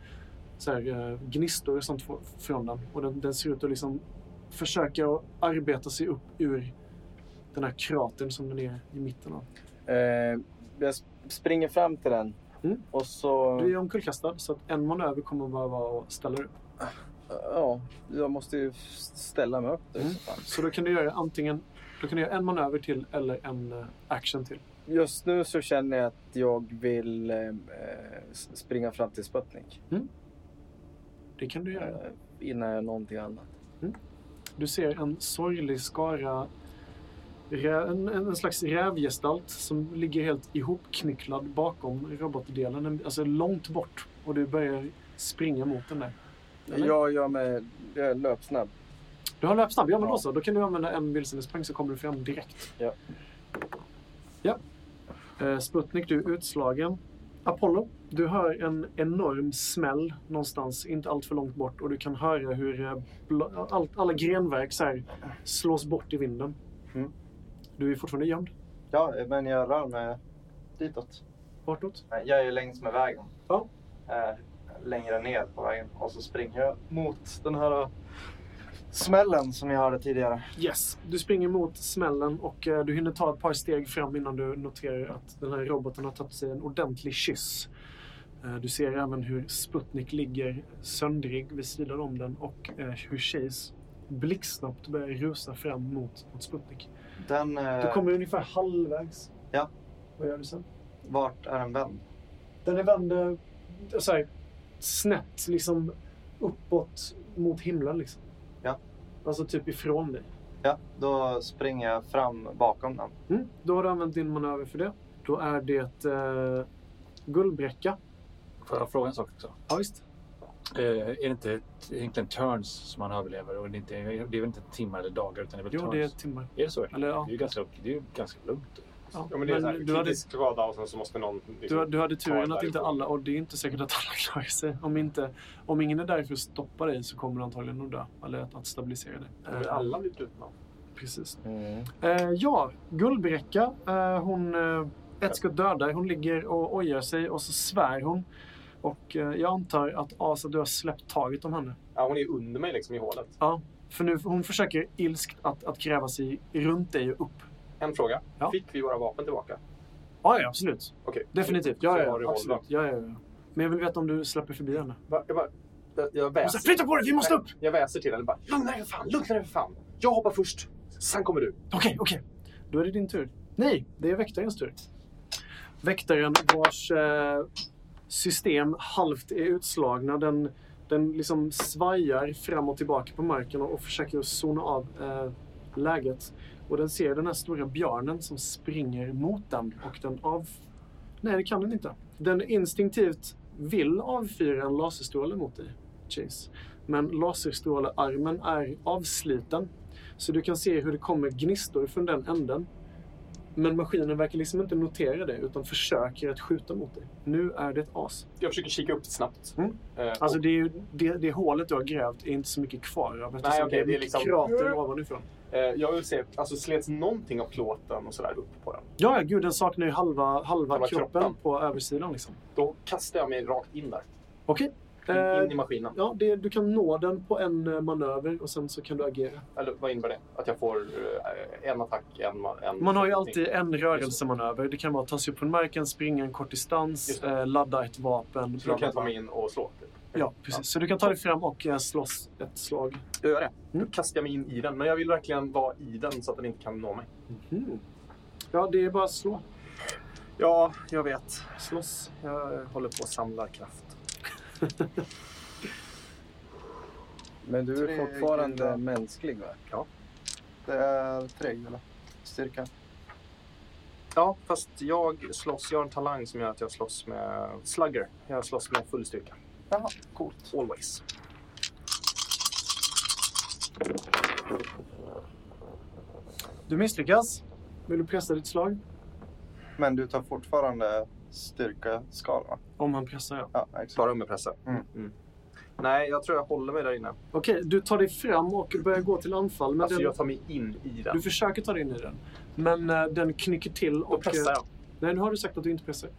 Speaker 3: så här, eh, gnistor och sånt fr- från den. Och den, den ser ut att liksom försöka att arbeta sig upp ur den här kratern som den är i mitten av.
Speaker 6: Eh, jag sp- springer fram till den.
Speaker 3: Mm.
Speaker 6: Och så...
Speaker 3: Du är omkullkastad så att en manöver kommer bara vara att ställa dig upp.
Speaker 6: Ja, jag måste ju ställa mig upp där.
Speaker 3: Mm. Så då kan du göra antingen då kan du göra en manöver till eller en eh, action till.
Speaker 6: Just nu så känner jag att jag vill eh, eh, s- springa fram till Sputnik.
Speaker 3: Det kan du göra.
Speaker 6: Eh, innan jag gör någonting annat.
Speaker 3: Du ser en sorglig skara, rä- en, en en slags rävgestalt som ligger helt ihopknycklad bakom robotdelen, en- alltså långt bort. Och du börjar springa mot den där. Eller?
Speaker 6: Jag gör mig jag är löpsnabb.
Speaker 3: Du har löpsnabb, ja men då
Speaker 6: Ja.
Speaker 3: så. Då kan du använda en vilsendesprang så kommer du fram direkt.
Speaker 6: Ja.
Speaker 3: Ja. Eh, Sputnik, du är utslagen. Apollo, du hör en enorm smäll någonstans, inte allt för långt bort. Och du kan höra hur eh, bla- allt, alla grenverk så här, slås bort i vinden.
Speaker 2: Mm.
Speaker 3: Du är fortfarande gömd
Speaker 2: Ja, men jag rör mig ditåt.
Speaker 3: bortåt.
Speaker 2: Jag är längs med vägen.
Speaker 3: Ja.
Speaker 2: Eh, längre ner på vägen. Och så springer jag mot den här eh, smällen som jag hörde tidigare.
Speaker 3: Yes, du springer mot smällen och eh, du hinner ta ett par steg fram innan du noterar att den här roboten har tagit sig en ordentlig kyss. Eh, Du ser även hur Sputnik ligger söndrig vid sidan om den och eh, hur Chase blixtsnabbt börjar rusa fram mot, mot Sputnik.
Speaker 2: Den...
Speaker 3: Du
Speaker 2: Eh,
Speaker 3: kommer ungefär halvvägs.
Speaker 2: Ja.
Speaker 3: Vad gör du sen?
Speaker 2: Vart är den vänd?
Speaker 3: Den är vänd eh, så här, snett liksom uppåt mot himlen. Liksom.
Speaker 2: Ja.
Speaker 3: Alltså typ ifrån dig.
Speaker 2: Ja, då springer jag fram bakom den.
Speaker 3: Mm. Då har du använt din manöver för det. Då är det eh, guldbräcka.
Speaker 4: Får jag fråga en sak också?
Speaker 3: Ja, visst.
Speaker 4: Eh, är det inte ett- egentligen turns som man överlever? Och det, är inte, det är väl inte timmar eller dagar utan det är väl
Speaker 3: Jo, det är
Speaker 4: turns?
Speaker 3: timmar.
Speaker 4: Är det så?
Speaker 3: Eller, ja.
Speaker 4: Det är ju ganska, det är ju ganska lugnt.
Speaker 3: Ja.
Speaker 5: Ja, men det är så här,
Speaker 3: du, hade,
Speaker 5: kritisk skada och sen så måste någon...
Speaker 3: du,
Speaker 5: Liksom,
Speaker 3: du hade turen
Speaker 5: Ta
Speaker 3: att
Speaker 5: det
Speaker 3: inte
Speaker 5: därifrån.
Speaker 3: alla, och det är inte säkert att alla klarar sig. Om, inte, om ingen är där för att stoppa dig så kommer du antagligen att dö. Eller att, att stabilisera dig.
Speaker 5: Men
Speaker 3: Eh,
Speaker 5: alla blir brutna.
Speaker 3: Precis.
Speaker 6: Mm.
Speaker 3: Eh, ja, Guldbräcka. Eh, hon, eh, ett skott dödar. Hon ligger och ojar sig och så svär hon. Och eh, jag antar att Asa, du har släppt taget om henne.
Speaker 5: Ja, hon är ju under mig liksom i hålet.
Speaker 3: Ja, för nu, hon försöker ilskt att, att gräva sig runt dig och upp.
Speaker 5: En fråga.
Speaker 3: Ja.
Speaker 5: Fick vi våra vapen tillbaka?
Speaker 3: Ja, ja absolut.
Speaker 5: Okej.
Speaker 3: Definitivt.
Speaker 5: Så
Speaker 3: Ja,
Speaker 5: har
Speaker 3: ja,
Speaker 5: du
Speaker 3: ja, absolut.
Speaker 5: hållbart.
Speaker 3: Ja, ja, ja. Men jag vill veta om du släpper förbi henne.
Speaker 5: Va- Jag, bara, jag, jag
Speaker 3: Hon säger,
Speaker 5: väser.
Speaker 3: Flytta på dig, vi måste upp!
Speaker 5: Jag väser till henne bara. Lugna dig för fan, lugna dig för fan. Jag hoppar först. Sen kommer du.
Speaker 3: Okej, okej. Då är det din tur. Nej, det är väktarens tur. Väktaren vars eh, system halvt är utslagna. Den, den liksom svajar fram och tillbaka på marken och, och försöker att zona av eh, läget. Och den ser den här stora björnen som springer mot den och den av... Nej, det kan den inte. Den instinktivt vill avfyra en laserstråle mot dig, Chase. Men laserstrålearmen är avsliten så du kan se hur det kommer gnistor från den änden. Men maskinen verkar liksom inte notera det utan försöker att skjuta mot dig. Nu är det ett as.
Speaker 5: Jag försöker kika upp snabbt.
Speaker 3: Mm.
Speaker 5: Eh, och-
Speaker 3: Alltså det, är ju, det, det hålet du har grävt är inte så mycket kvar av eftersom
Speaker 5: Nej,
Speaker 3: det
Speaker 5: okej,
Speaker 3: är
Speaker 5: det är
Speaker 3: mycket
Speaker 5: liksom-
Speaker 3: krater ovanifrån.
Speaker 5: Eh, jag vill se, alltså slets någonting av plåten och sådär upp på den?
Speaker 3: Ja, ja, gud den saknar ju halva, halva
Speaker 5: Halva
Speaker 3: kroppen,
Speaker 5: kroppen.
Speaker 3: på översidan liksom.
Speaker 5: Då kastar jag mig rakt in där.
Speaker 3: Okej.
Speaker 5: In, in i
Speaker 3: Eh,
Speaker 5: maskinen.
Speaker 3: ja, det, du kan nå den på en eh, manöver och sen så kan du agera.
Speaker 5: Eller vad innebär det? Att jag får eh, en attack, en... ma- en
Speaker 3: Man har ju alltid en rörelsemanöver. Det kan vara att ta sig upp från marken, springa en kort distans,
Speaker 5: Just
Speaker 3: eh, ladda ett vapen.
Speaker 5: Så
Speaker 3: bla,
Speaker 5: då kan
Speaker 3: bla,
Speaker 5: jag ta
Speaker 3: bla.
Speaker 5: mig in och slå. typ.
Speaker 3: Ja, precis. Så du kan ta dig fram och eh, slåss ett slag.
Speaker 5: Jag gör det.
Speaker 3: Mm.
Speaker 5: Då kastar jag mig in i den. Men jag vill verkligen vara i den så att den inte kan nå mig.
Speaker 3: Ja, det är bara att slå.
Speaker 5: Ja, jag vet. Slåss. Jag håller på att samla kraft.
Speaker 6: Men du
Speaker 2: Tre
Speaker 6: är fortfarande
Speaker 2: gula.
Speaker 6: mänsklig va?
Speaker 2: Det är tre gula. Styrka.
Speaker 5: Ja, fast jag slåss. Jag har en talang som gör att jag slåss med slugger. Jag slåss med full styrka.
Speaker 2: Jaha, coolt.
Speaker 5: Always.
Speaker 3: Du misslyckas. Vill du pressa ditt slag?
Speaker 2: Men du tar fortfarande styrkeskala?
Speaker 3: Om han pressar, ja.
Speaker 2: Ja, exakt.
Speaker 5: Bara underpressa.
Speaker 2: Mm.
Speaker 5: Nej, jag tror jag håller mig där inne.
Speaker 3: Okej, du tar dig fram och börjar gå till anfall. Men
Speaker 5: Alltså,
Speaker 3: den,
Speaker 5: jag tar mig in i den.
Speaker 3: Du försöker ta dig in i den. Men eh, den knycker till
Speaker 5: Då
Speaker 3: och... eh,
Speaker 5: pressar jag.
Speaker 3: Nej, nu har du sagt att du inte pressar.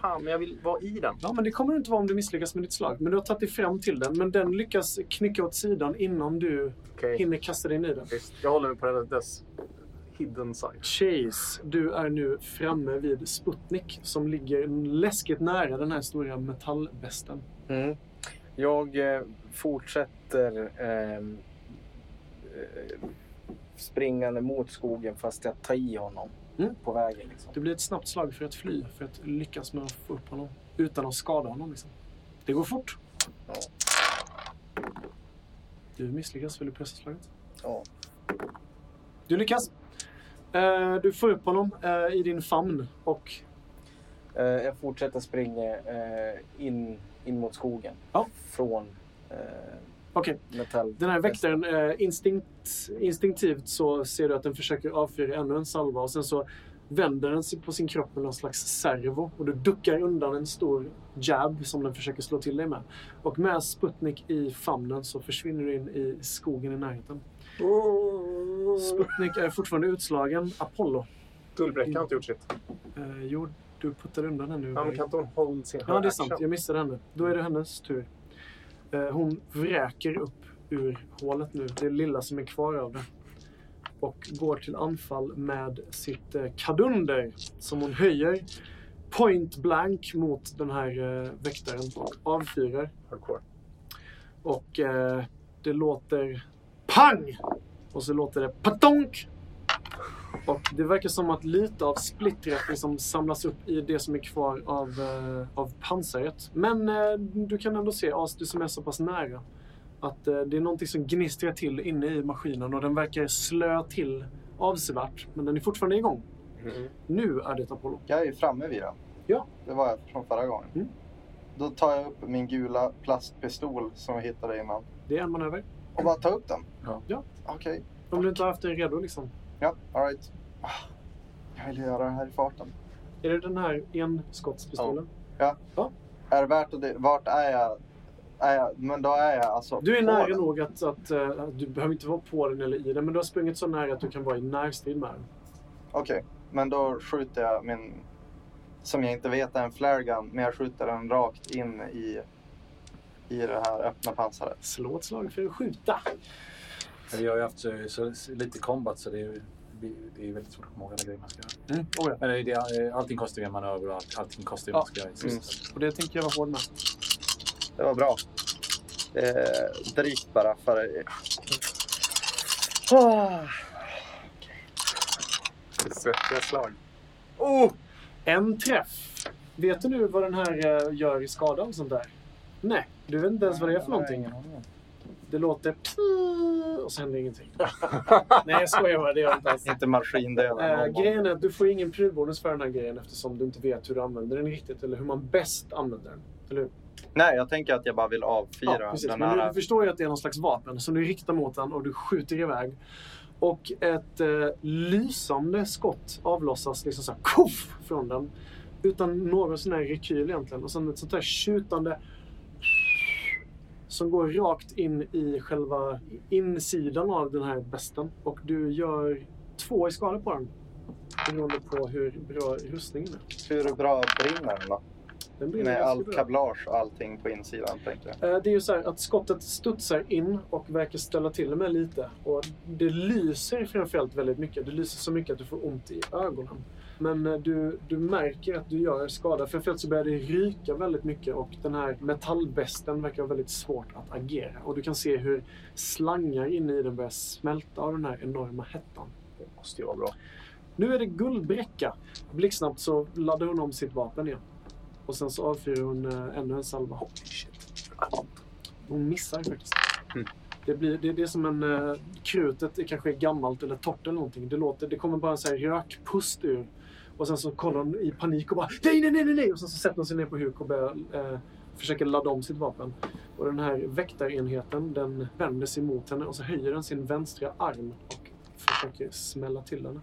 Speaker 5: Fan, men jag vill vara i den.
Speaker 3: Ja, men det kommer du inte vara om du misslyckas med ditt slag. Men du har tagit dig fram till den. Men den lyckas knycka åt sidan innan du hinner kasta dig in i den.
Speaker 5: Jag håller mig på den- dess hidden side.
Speaker 3: Chase, du är nu framme vid Sputnik som ligger läskigt nära den här stora metallvästen.
Speaker 6: Mm. Jag eh, fortsätter ehm, eh, springande mot skogen fast jag tar i honom
Speaker 3: Mm.
Speaker 6: på vägen. Liksom.
Speaker 3: Det blir ett snabbt slag för att fly, för att lyckas med att få upp honom utan att skada honom. Liksom. Det går fort.
Speaker 6: Ja.
Speaker 3: Du misslyckas, vill du pressa slaget?
Speaker 6: Ja.
Speaker 3: Du lyckas. Eh, Du får upp honom eh, i din famn och
Speaker 6: Eh, jag fortsätter springa eh, in, in mot skogen
Speaker 3: Ja.
Speaker 6: från eh,
Speaker 3: okej,
Speaker 6: metall.
Speaker 3: Den här väktaren, eh, instinkt, instinktivt så ser du att den försöker avfyra ännu en salva och sen så vänder den sig på sin kropp med någon slags servo och du duckar undan en stor jab som den försöker slå till dig med. Och med Sputnik i famnen så försvinner du in i skogen i närheten. Sputnik är fortfarande utslagen. Apollo,
Speaker 5: Guldbräckan har inte gjort sitt.
Speaker 3: eh, jo, du puttar undan den nu.
Speaker 5: Ja, men kan inte hon hold sin
Speaker 3: Ja, det är sant. Jag missade henne. Då är det hennes tur. Eh, Hon vräker upp ur hålet nu, det lilla som är kvar av det. Och går till anfall med sitt eh, kadunder som hon höjer point blank mot den här eh, väktaren och avfyrar.
Speaker 5: Hardcore.
Speaker 3: Och eh, det låter pang! Och så låter det patonk! Och det verkar som att lite av splittret liksom samlas upp i det som är kvar av, eh, av pansaret. Men eh, du kan ändå se, As, du som är så pass nära, att eh, det är någonting som gnistrar till inne i maskinen och den verkar slöa till avsevärt, men den är fortfarande igång.
Speaker 5: Mm.
Speaker 3: Nu är det Apollo.
Speaker 2: Jag är framme vid den.
Speaker 3: Ja.
Speaker 2: Det var jag från förra gången.
Speaker 3: Mm.
Speaker 2: Då tar jag upp min gula plastpistol som vi hittade innan
Speaker 3: Det är en manöver.
Speaker 2: och bara tar upp den.
Speaker 4: Ja.
Speaker 3: Ja.
Speaker 2: Okej.
Speaker 3: Om du inte har haft den redo liksom.
Speaker 2: Ja, alright. Ah, Jag vill göra det här i farten.
Speaker 3: Är det den här enskottspistolen?
Speaker 2: Är det värt att... Vart är jag? Är jag... Men då är jag alltså
Speaker 3: Du är
Speaker 2: på
Speaker 3: nära
Speaker 2: den.
Speaker 3: nog att, att eh, du behöver inte vara på den eller i den, men du har sprungit så nära att du kan vara i närstrid med den.
Speaker 2: Okej, men då skjuter jag min... Som jag inte vet är en flare gun, men jag skjuter den rakt in i, i det här öppna pansaret.
Speaker 3: Slå ett slag för att skjuta.
Speaker 4: Men Jag har ju haft så, så, så lite combat så det är, det är väldigt svårt att komma ihåg alla grejer man ska göra.
Speaker 3: Mm. Oh, ja.
Speaker 4: Men det, är- allting kostar ju en manöver och allt- allting kostar ju
Speaker 3: Ja.
Speaker 4: vad man ska göra. i
Speaker 2: Mm.
Speaker 4: sista.
Speaker 3: Och det tänker jag vara hård med.
Speaker 2: Det var bra. Eh, drick bara för... Ah.
Speaker 5: Svettiga slag.
Speaker 2: Oh!
Speaker 3: En träff. Vet du nu vad den här eh, gör i skada och sånt där? Nej, du vet inte ens vad det är för någonting. Det låter pii och så händer ingenting. Nej, jag skojar bara. Det gör det inte alls.
Speaker 2: Inte maskindelen.
Speaker 3: Eh,
Speaker 2: någon gång.
Speaker 3: grejen är att du får ingen prylbonus för den här grejen eftersom du inte vet hur du använder den riktigt eller hur man bäst använder den. Eller hur?
Speaker 2: Nej, jag tänker att jag bara vill avfyra
Speaker 3: Ja, precis.
Speaker 2: den
Speaker 3: Men du, du
Speaker 2: här.
Speaker 3: förstår ju att det är någon slags vapen som du riktar mot den och du skjuter iväg. Och ett eh, lysande skott avlossas liksom så här, koff, från den. Utan någon sån här rekyl egentligen. Och sen ett sånt här tjutande som går rakt in i själva insidan av den här västen. Och du gör två i skada på den. Beroende på hur bra rustningen är.
Speaker 2: Hur bra brinner den då?
Speaker 3: Den blir
Speaker 2: Med
Speaker 3: ganska
Speaker 2: allt
Speaker 3: bra.
Speaker 2: kablage och allting på insidan, tänker jag.
Speaker 3: Eh, Det är ju så här att skottet studsar in och verkar ställa till med lite. Och det lyser framförallt väldigt mycket. Det lyser så mycket att du får ont i ögonen. Men eh, du, du märker att du gör skada. Framförallt så börjar det ryka väldigt mycket och den här metallvästen verkar ha väldigt svårt att agera. Och du kan se hur slangar inne i den börjar smälta av den här enorma hettan.
Speaker 5: Det måste ju vara bra.
Speaker 3: Nu är det guldbräcka. Blixtsnabbt så laddar hon om sitt vapen igen. Och sen så avfyrar hon eh, ännu en salva. Hon missar faktiskt.
Speaker 5: Mm.
Speaker 3: Det, blir, det, det är som en... eh, Krutet är kanske gammalt eller torrt eller någonting. Det, låter, det kommer bara en sån här rökpust ur. Och sen så kollar hon i panik och bara nej, nej, nej, nej, nej. Och sen så sätter hon sig ner på huk och börjar, eh, försöker ladda om sitt vapen. Och den här väktarenheten den vänder sig mot henne och så höjer den sin vänstra arm och försöker smälla till henne.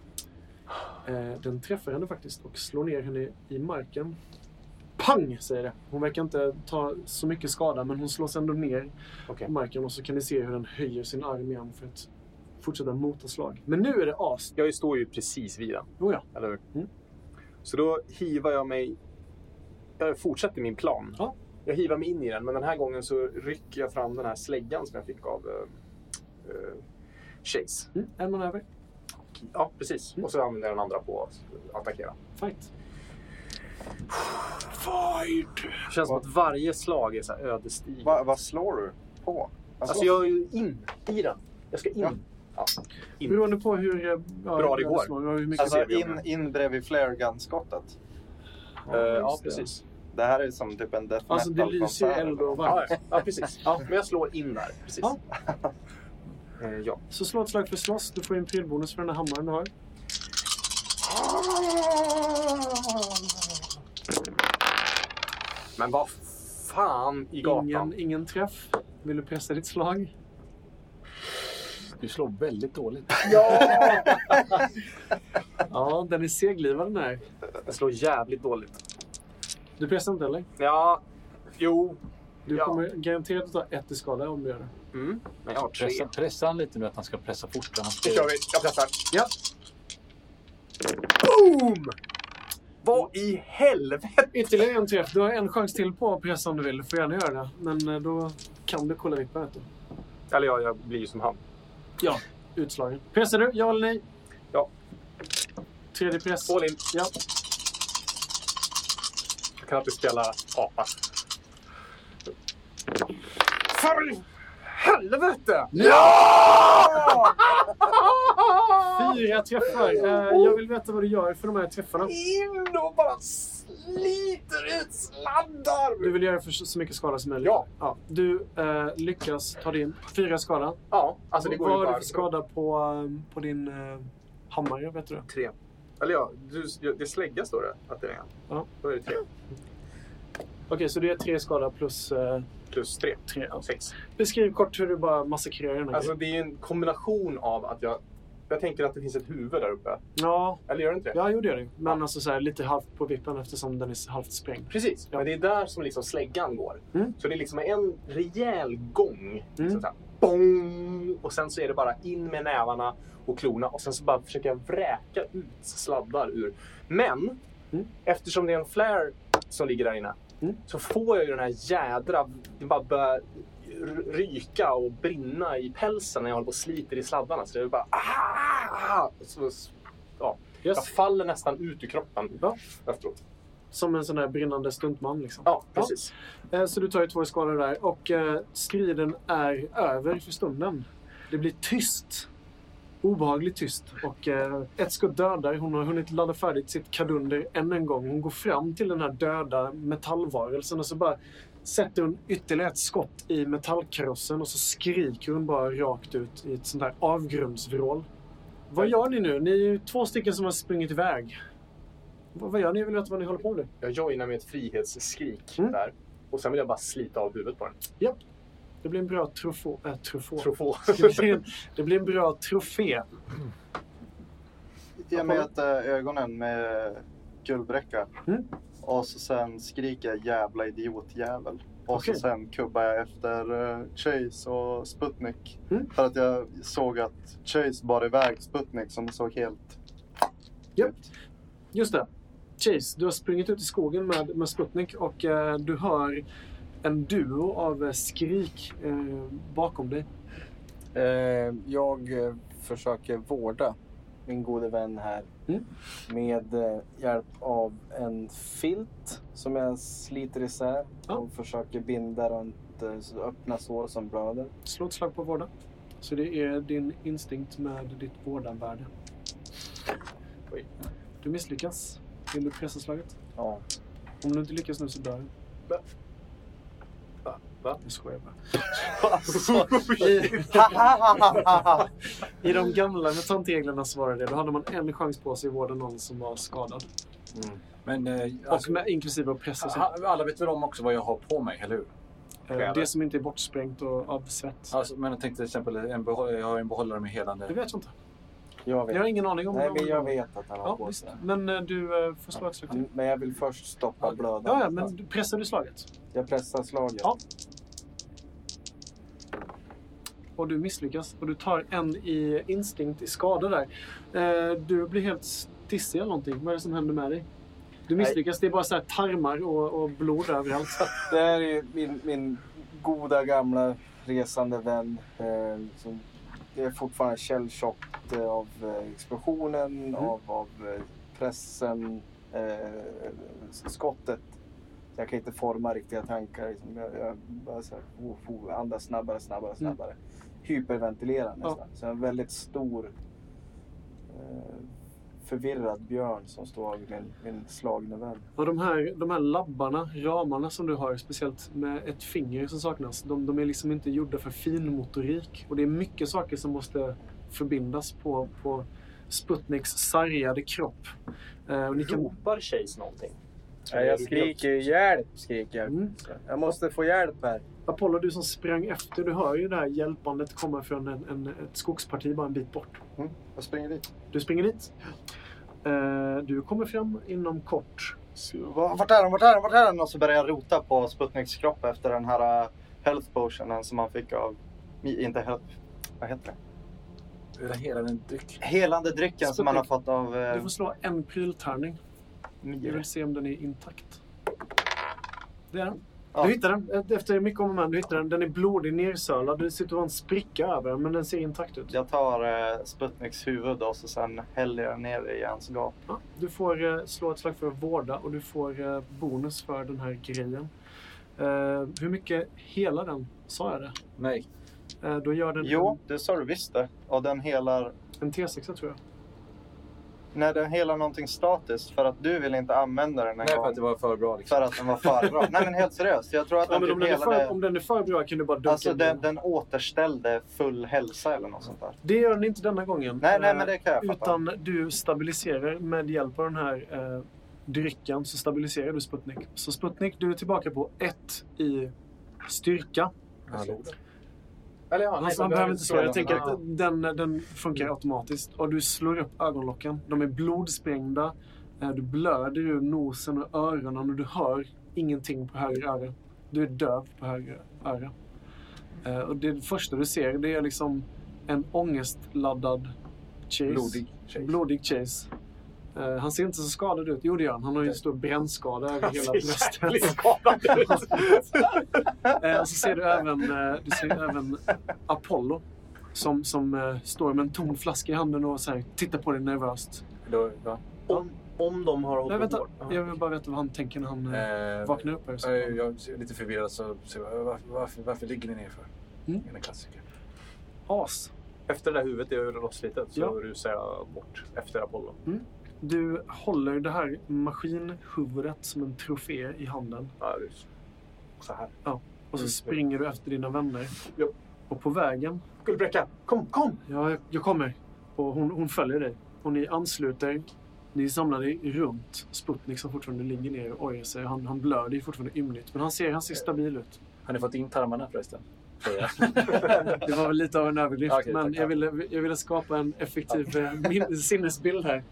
Speaker 3: Eh, den träffar henne faktiskt och slår ner henne i marken. Pang, säger det. Hon verkar inte ta så mycket skada, men hon slås ändå ner
Speaker 5: Okej.
Speaker 3: på marken och så kan ni se hur den höjer sin arm igen för att fortsätta mota slag. Men nu är det as.
Speaker 5: Jag står ju precis vid den,
Speaker 3: Oh ja.
Speaker 5: eller hur?
Speaker 3: Mm.
Speaker 5: Så då hivar jag mig... Jag fortsätter min plan.
Speaker 3: Ja.
Speaker 5: Jag hivar mig in i den, men den här gången så rycker jag fram den här släggan som jag fick av eh, eh, Chase.
Speaker 3: Mm, en man över.
Speaker 5: Ja, precis.
Speaker 3: Mm.
Speaker 5: Och så använder jag den andra på att attackera.
Speaker 3: Fight.
Speaker 5: Det känns som att varje slag är så här ödesdigert.
Speaker 2: Va, vad slår du på? Vad
Speaker 5: Alltså
Speaker 2: slår-
Speaker 5: jag är ju in i den. Jag ska in.
Speaker 2: Ja.
Speaker 5: In.
Speaker 3: Beroende på hur eh, ja,
Speaker 5: Bra det
Speaker 3: hur
Speaker 5: går.
Speaker 3: slår och hur mycket
Speaker 2: Alltså
Speaker 5: ser vi om
Speaker 2: in, in bredvid flare gun-skottet.
Speaker 5: Eh, ja,
Speaker 3: just det.
Speaker 5: precis.
Speaker 2: Det här är som typ en death
Speaker 3: Alltså det lyser ju
Speaker 2: metal-konsert.
Speaker 3: eld och
Speaker 5: Ja,
Speaker 3: varmt.
Speaker 5: ja. ja, precis. Ja, men jag slår in där. Precis.
Speaker 3: Ja.
Speaker 5: Eh, ja.
Speaker 3: Så slå ett slag för slåss. Du får en prylbonus för den här hammaren du har.
Speaker 5: Men vad fan i gatan.
Speaker 3: Ingen, ingen träff. Vill du pressa ditt slag?
Speaker 4: Du slår väldigt dåligt.
Speaker 3: Ja, den är seglivad den här.
Speaker 5: Jag slår jävligt dåligt.
Speaker 3: Du pressar inte eller?
Speaker 5: Ja, jo.
Speaker 3: Du
Speaker 5: Ja.
Speaker 3: kommer garanterat att ta ett i skada om du gör det.
Speaker 5: Mm. Men jag har tre.
Speaker 4: Pressa, pressa han lite nu att han ska pressa fort. Han
Speaker 5: Det
Speaker 4: ska,
Speaker 5: kör vi. Jag pressar.
Speaker 3: Ja.
Speaker 5: Boom! Vad i helvete?
Speaker 3: Ytterligare en träff. Du har en chans till på att pressa om du vill. Du får gärna göra det. Men eh, då kan du kolla vippa vet du.
Speaker 5: Eller ja, jag blir ju som han.
Speaker 3: Ja, utslagen. Pressar du? Ja eller nej?
Speaker 5: Ja.
Speaker 3: Tredje press.
Speaker 5: All in.
Speaker 3: Ja.
Speaker 5: Jag kan alltid spela apa. För helvete! Ja!
Speaker 3: Fyra träffar. Eh, jag vill veta vad du gör för de här träffarna.
Speaker 5: In och bara sliter ut sladdar!
Speaker 3: Du vill göra för så mycket skada som möjligt?
Speaker 5: Ja.
Speaker 3: Du eh, lyckas ta din fyra skada.
Speaker 5: Ja, alltså det går
Speaker 3: vad
Speaker 5: ju
Speaker 3: har du
Speaker 5: bara...
Speaker 3: för skada på, eh, på din eh, hammare? Vet du?
Speaker 5: Tre. Eller ja, du, det är slägga står det att det är.
Speaker 3: Ja.
Speaker 5: Då är det tre.
Speaker 3: Okej, så du gör tre skada plus eh,
Speaker 5: Plus tre.
Speaker 3: tre. ja.
Speaker 5: Sex.
Speaker 3: Beskriv kort hur du bara massakrerar den här
Speaker 5: Alltså
Speaker 3: grejen.
Speaker 5: det är ju en kombination av att jag... Jag tänker att det finns ett huvud där uppe.
Speaker 3: Ja,
Speaker 5: Eller gör det inte det?
Speaker 3: ja, jo, det gör du. Men alltså så här, lite halvt på vippen eftersom den är halvt sprängd.
Speaker 5: Precis,
Speaker 3: Ja.
Speaker 5: men det är där som liksom släggan går.
Speaker 3: Mm.
Speaker 5: Så det är liksom en rejäl gång.
Speaker 3: Mm.
Speaker 5: Liksom så här, bong, och sen så är det bara in med nävarna och klorna och sen så bara försöker jag vräka ut sladdar ur. Men
Speaker 3: Mm.
Speaker 5: eftersom det är en flare som ligger där inne
Speaker 3: Mm.
Speaker 5: så får jag ju den här jädra... Det bara börjar r- ryka och brinna i pälsen när jag håller på och sliter i sladdarna. Så det är bara... Ah! Så, ja.
Speaker 3: Yes.
Speaker 5: Jag faller nästan ut ur kroppen
Speaker 3: Ja.
Speaker 5: efteråt.
Speaker 3: Som en sån där brinnande stuntman liksom.
Speaker 5: Ja, precis.
Speaker 3: Eh, Så du tar ju två skador där och eh, striden är över för stunden. Det blir tyst. Obehagligt tyst. Och eh, ett skott dödar. Hon har hunnit ladda färdigt sitt kadunder än en gång. Hon går fram till den här döda metallvarelsen och så bara sätter hon ytterligare ett skott i metallkrossen och så skriker hon bara rakt ut i ett sånt där avgrundsvrål. Vad gör ni nu? Ni är ju två stycken som har sprungit iväg. Vad vad gör ni? Jag vill veta vad ni håller på med.
Speaker 5: Jag joinar med ett frihetsskrik
Speaker 3: Mm.
Speaker 5: där. Och sen vill jag bara slita av huvudet på den.
Speaker 3: Det blir en bra trufå... Äh, trufå.
Speaker 5: Trofå.
Speaker 3: Det blir, en, det blir en bra trofé.
Speaker 2: Jag möter ögonen med guldbräcka.
Speaker 3: Mm.
Speaker 2: Och så sen skriker jag jävla idiotjävel. Och
Speaker 3: Okej.
Speaker 2: så sen kubbar jag efter eh, Chase och Sputnik.
Speaker 3: Mm.
Speaker 2: För att jag såg att Chase bar iväg Sputnik som såg helt...
Speaker 3: Japp. Just det. Chase, du har sprungit ut i skogen med, med Sputnik och eh, du hör en duo av eh, skrik eh, bakom dig.
Speaker 6: Eh, jag eh, försöker vårda min gode vän här
Speaker 3: Mm.
Speaker 6: med eh, hjälp av en filt som jag sliter isär
Speaker 3: Ja.
Speaker 6: och försöker binda runt eh, så öppna sår som blöder.
Speaker 3: Slå ett slag på vårda. Så det är din instinkt med ditt vårdarvärde.
Speaker 5: Oj.
Speaker 3: Du misslyckas. Vill du pressa slaget?
Speaker 6: Ja.
Speaker 3: Om du inte lyckas nu så dör du.
Speaker 5: Va? Va? Va?
Speaker 3: Jag skojar bara.
Speaker 2: Alltså,
Speaker 3: I-
Speaker 2: hahaha.
Speaker 3: I de gamla mutantreglerna så var det det. Då hade man en chans på sig att vårda någon som var skadad.
Speaker 4: Men eh,
Speaker 3: Och
Speaker 4: alltså,
Speaker 3: med, inklusive att pressa sig.
Speaker 4: ha- alla vet väl om också vad jag har på mig, eller hur?
Speaker 3: Eh, Det som inte är bortsprängt och av svett.
Speaker 4: Alltså, men jag tänkte till exempel, en behå- jag har en behållare med helande.
Speaker 3: Det vet jag inte.
Speaker 6: Jag
Speaker 3: Jag har
Speaker 6: vet.
Speaker 3: ingen aning om
Speaker 6: Nej,
Speaker 3: vad-
Speaker 6: men jag vet att han har
Speaker 3: Ja,
Speaker 6: på
Speaker 3: visst.
Speaker 6: sig.
Speaker 3: Men eh, du eh, får slå ett slag till.
Speaker 6: Men jag vill först stoppa blödan.
Speaker 3: Ja, ja, men du- pressar du slaget?
Speaker 6: Jag pressar slaget.
Speaker 3: Ja. Och du misslyckas. Och du tar en i instinkt i skada där. Eh, Du blir helt stissig eller någonting. Vad är det som händer med dig? Du misslyckas. Det är bara så här tarmar och, och blod överallt.
Speaker 6: Det här är ju min, min goda gamla resande vän. Eh, som det är fortfarande källtjockt eh, av eh, explosionen, av, av eh, pressen, eh, skottet. Jag kan inte forma riktiga tankar. Liksom. Jag, jag bara så här, oh, oh, andas snabbare, snabbare, snabbare. Hyperventilerar nästan. Så en väldigt stor eh, förvirrad björn som står vid min, min slagna vän.
Speaker 3: Och de, här, de här labbarna, ramarna som du har, speciellt med ett finger som saknas, de, de är liksom inte gjorda för finmotorik. Och det är mycket saker som måste förbindas på, på Sputniks sargade kropp. Eh, och ni kan...
Speaker 5: Ropar Chase någonting?
Speaker 6: Nej, jag skriker ju hjälp, skriker jag.
Speaker 3: Mm.
Speaker 6: Jag måste få hjälp här.
Speaker 3: Apollo, du som sprang efter, du hör ju det här hjälpandet komma från en, en, ett skogsparti bara en bit bort.
Speaker 2: Jag springer dit.
Speaker 3: Du springer dit. Eh, du kommer fram inom kort.
Speaker 2: Så, va- Vart är den? Vart är den? Vart är den? Och så börjar jag rota på Sputniks kropp efter den här eh, health potionen som han fick av... Inte health... Vad heter det?
Speaker 4: Är det hela den dryck?
Speaker 2: Helande drycken som han har fått av
Speaker 3: Du
Speaker 2: eh,
Speaker 3: får slå en pryltärning. Jag
Speaker 2: Mir.
Speaker 3: vill se om den är intakt. Det är den.
Speaker 2: Ja.
Speaker 3: Du hittar den. eh, Efter mycket om och men, du hittar den. Den är blodig, nersölad. Det ser ut att vara en spricka över den, men den ser intakt ut.
Speaker 2: Jag tar eh, Sputniks huvud och så sen häller jag ner det i hans gap.
Speaker 3: Ja, Du får eh, slå ett slag för att vårda och du får eh, bonus för den här grejen. Eh, hur mycket hela den? Sa jag det?
Speaker 4: Nej.
Speaker 3: Eh, då gör den...
Speaker 2: Jo, det sa du visst det. Och den helar
Speaker 3: En T6 tror jag.
Speaker 2: Nej, den helar någonting statiskt för att du vill inte använda den en
Speaker 4: Nej, för
Speaker 2: gång.
Speaker 4: att det var för bra. Liksom.
Speaker 2: För att den var för bra. Nej, men helt seriöst. Jag tror att
Speaker 3: Ja,
Speaker 2: den
Speaker 3: men om,
Speaker 2: typ
Speaker 3: den är för,
Speaker 2: helade...
Speaker 3: om den är för bra kan du bara dunka
Speaker 2: Alltså
Speaker 3: den.
Speaker 2: den, den återställde full hälsa eller något sånt där.
Speaker 3: Det gör den inte denna gången.
Speaker 2: Nej, nej,
Speaker 3: Eh,
Speaker 2: men det kan jag fatta.
Speaker 3: Utan du stabiliserar med hjälp av den här eh, drycken så stabiliserar du Sputnik. Så Sputnik, du är tillbaka på ett i styrka.
Speaker 4: Härligt.
Speaker 5: Eller ja,
Speaker 3: Han,
Speaker 5: nej,
Speaker 3: han
Speaker 5: man
Speaker 3: Alltså, behöver inte Mm. slå. Jag tänker
Speaker 5: Ja.
Speaker 3: att den, den funkar automatiskt. Och du slår upp ögonlocken. De är blodsprängda. Eh, Du blöder ur nosen och öronen och du hör ingenting på höger öra. Du är döv på höger öra. Eh, Och det första du ser det är liksom en ångestladdad chase.
Speaker 4: Blodig tjej.
Speaker 3: Blodig chase. Eh, Han ser inte så skadad ut. Jo, det gör han. Han har ju en stor brännskada över hela bröstet. Eh, och så ser du även, eh, du ser även Apollo som, som eh, står med en tom flaska i handen och så här, tittar på dig nervöst.
Speaker 4: Då, va?
Speaker 5: Om, om de har
Speaker 3: Nej,
Speaker 5: open
Speaker 3: vänta.
Speaker 5: door. Ja.
Speaker 3: Jag vill bara veta vad han tänker när han eh,
Speaker 4: Eh,
Speaker 3: vaknar upp. Här, så.
Speaker 4: jag är lite förvirrad så, så jag, varför, varför, varför ligger ni ner för?
Speaker 3: Mm.
Speaker 4: En klassiker.
Speaker 3: As.
Speaker 5: Efter det där huvudet är rostslitet så
Speaker 3: Ja.
Speaker 5: rusar jag bort efter Apollo.
Speaker 3: Du håller det här maskinhuvudet som en trofé i handen
Speaker 5: Ja, jag rusar. Så här.
Speaker 3: och så springer du efter dina vänner.
Speaker 5: Ja.
Speaker 3: Och på vägen
Speaker 5: Guldbräcka, kom, kom!
Speaker 3: Ja, jag- jag kommer. Och hon, hon följer dig. Och ni ansluter. Ni är samlade i- runt Sputnik som fortfarande ligger ner och ojar sig. Han, han blöder ju fortfarande ymnigt. Men han ser, han ser stabil ut.
Speaker 4: Har ni fått in tarmarna förresten? Frågar
Speaker 3: Det var väl lite av en överdrift.
Speaker 4: Okej,
Speaker 3: men
Speaker 4: tack.
Speaker 3: jag ville, jag ville skapa en effektiv eh, min, sinnesbild här.